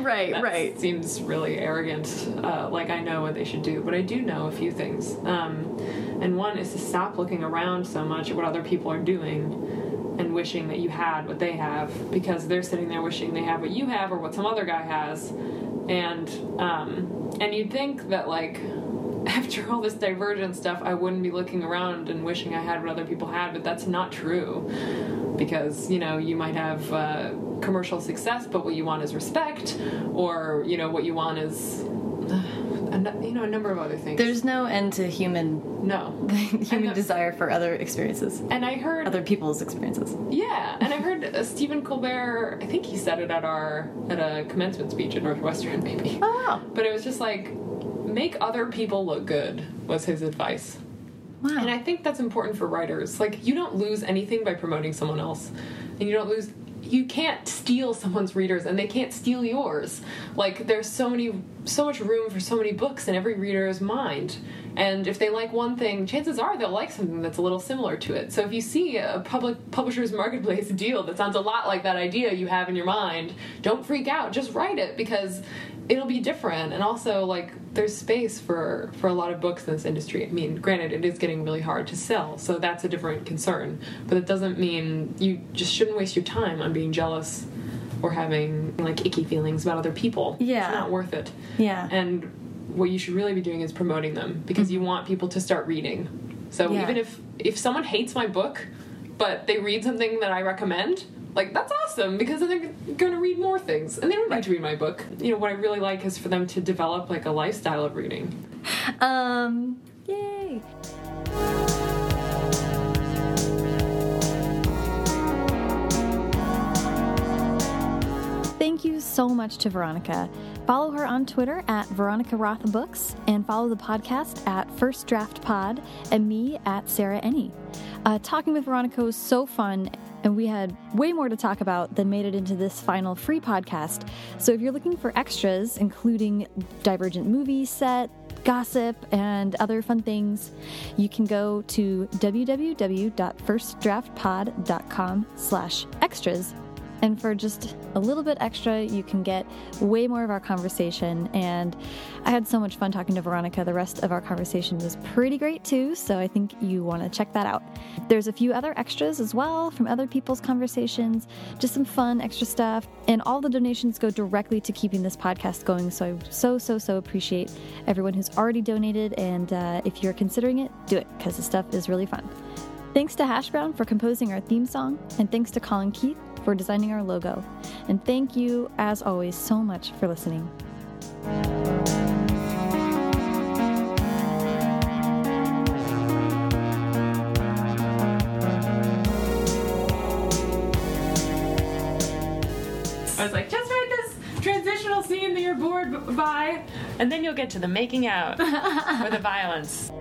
[SPEAKER 1] right,
[SPEAKER 2] That
[SPEAKER 1] right.
[SPEAKER 2] Seems really arrogant. Uh, like I know what they should do, but I do know a few things. Um, and one is to stop looking around so much at what other people are doing and wishing that you had what they have because they're sitting there wishing they have what you have or what some other guy has. And um, and you'd think that like after all this divergent stuff, I wouldn't be looking around and wishing I had what other people had, but that's not true because you know you might have uh, commercial success, but what you want is respect, or you know what you want is uh, a nu- you know a number of other things.
[SPEAKER 1] There's no end to human
[SPEAKER 2] no,
[SPEAKER 1] human
[SPEAKER 2] know.
[SPEAKER 1] desire for other experiences,
[SPEAKER 2] and I heard
[SPEAKER 1] other people's experienses.
[SPEAKER 2] yeah, and I heard uh, Stephen Colbert. I think he said it at our at a commencement speech at Northwestern, maybe.
[SPEAKER 1] Oh,
[SPEAKER 2] But it was just like make other people look good was his advice.
[SPEAKER 1] wow.
[SPEAKER 2] And I think that's important for writers. Like, you don't lose anything by promoting someone else. And you don't lose, you can't steal someone's readers and they can't steal yours. Like, there's so many, so much room for so many books in every reader's mind. And if they like one thing, chances are they'll like something that's a little similar to it. So if you see a public publisher's marketplace deal that sounds a lot like that idea you have in your mind, don't freak out. Just write it because it'll be different and also like there's space for for a lot of books in this industry i mean granted it is getting really hard to sell so that's a different concern but it doesn't mean you just shouldn't waste your time on being jealous or having like icky feelings about other people
[SPEAKER 1] Yeah.
[SPEAKER 2] it's not worth it
[SPEAKER 1] Yeah.
[SPEAKER 2] and what you should really be doing is promoting them because you want people to start reading so
[SPEAKER 1] Yeah.
[SPEAKER 2] even if if someone hates my book but they read something that i recommend like that's awesome because then they're going to read more things and they don't need to read my book you know what i really like is for them to develop like a lifestyle of reading
[SPEAKER 1] um,
[SPEAKER 3] Yay! Thank you so much to Veronica. Follow her on Twitter at Veronica Roth Books and follow the podcast at First Draft Pod and me at Sarah Ennie. Uh, talking with Veronica was so fun, and we had way more to talk about than made it into this final free podcast. So if you're looking for extras, including Divergent movie set, gossip, and other fun things, you can go to www.firstdraftpod.com slash extras and for just a little bit extra, you can get way more of our conversation. And I had so much fun talking to Veronica. The rest of our conversation was pretty great too, so I think you want to check that out. There's a few other extras as well from other people's conversations, just some fun extra stuff. And all the donations go directly to keeping this podcast going. So I so, so, so appreciate everyone who's already donated. And uh, if you're considering it, do it because the stuff is really fun. Thanks to Hash Brown for composing our theme song, and thanks to Colin Keith for designing our logo. And thank you, as always, so much for listening.
[SPEAKER 2] i was like just read this transitional scene that you're bored b- by and then you'll get to the making out or the violence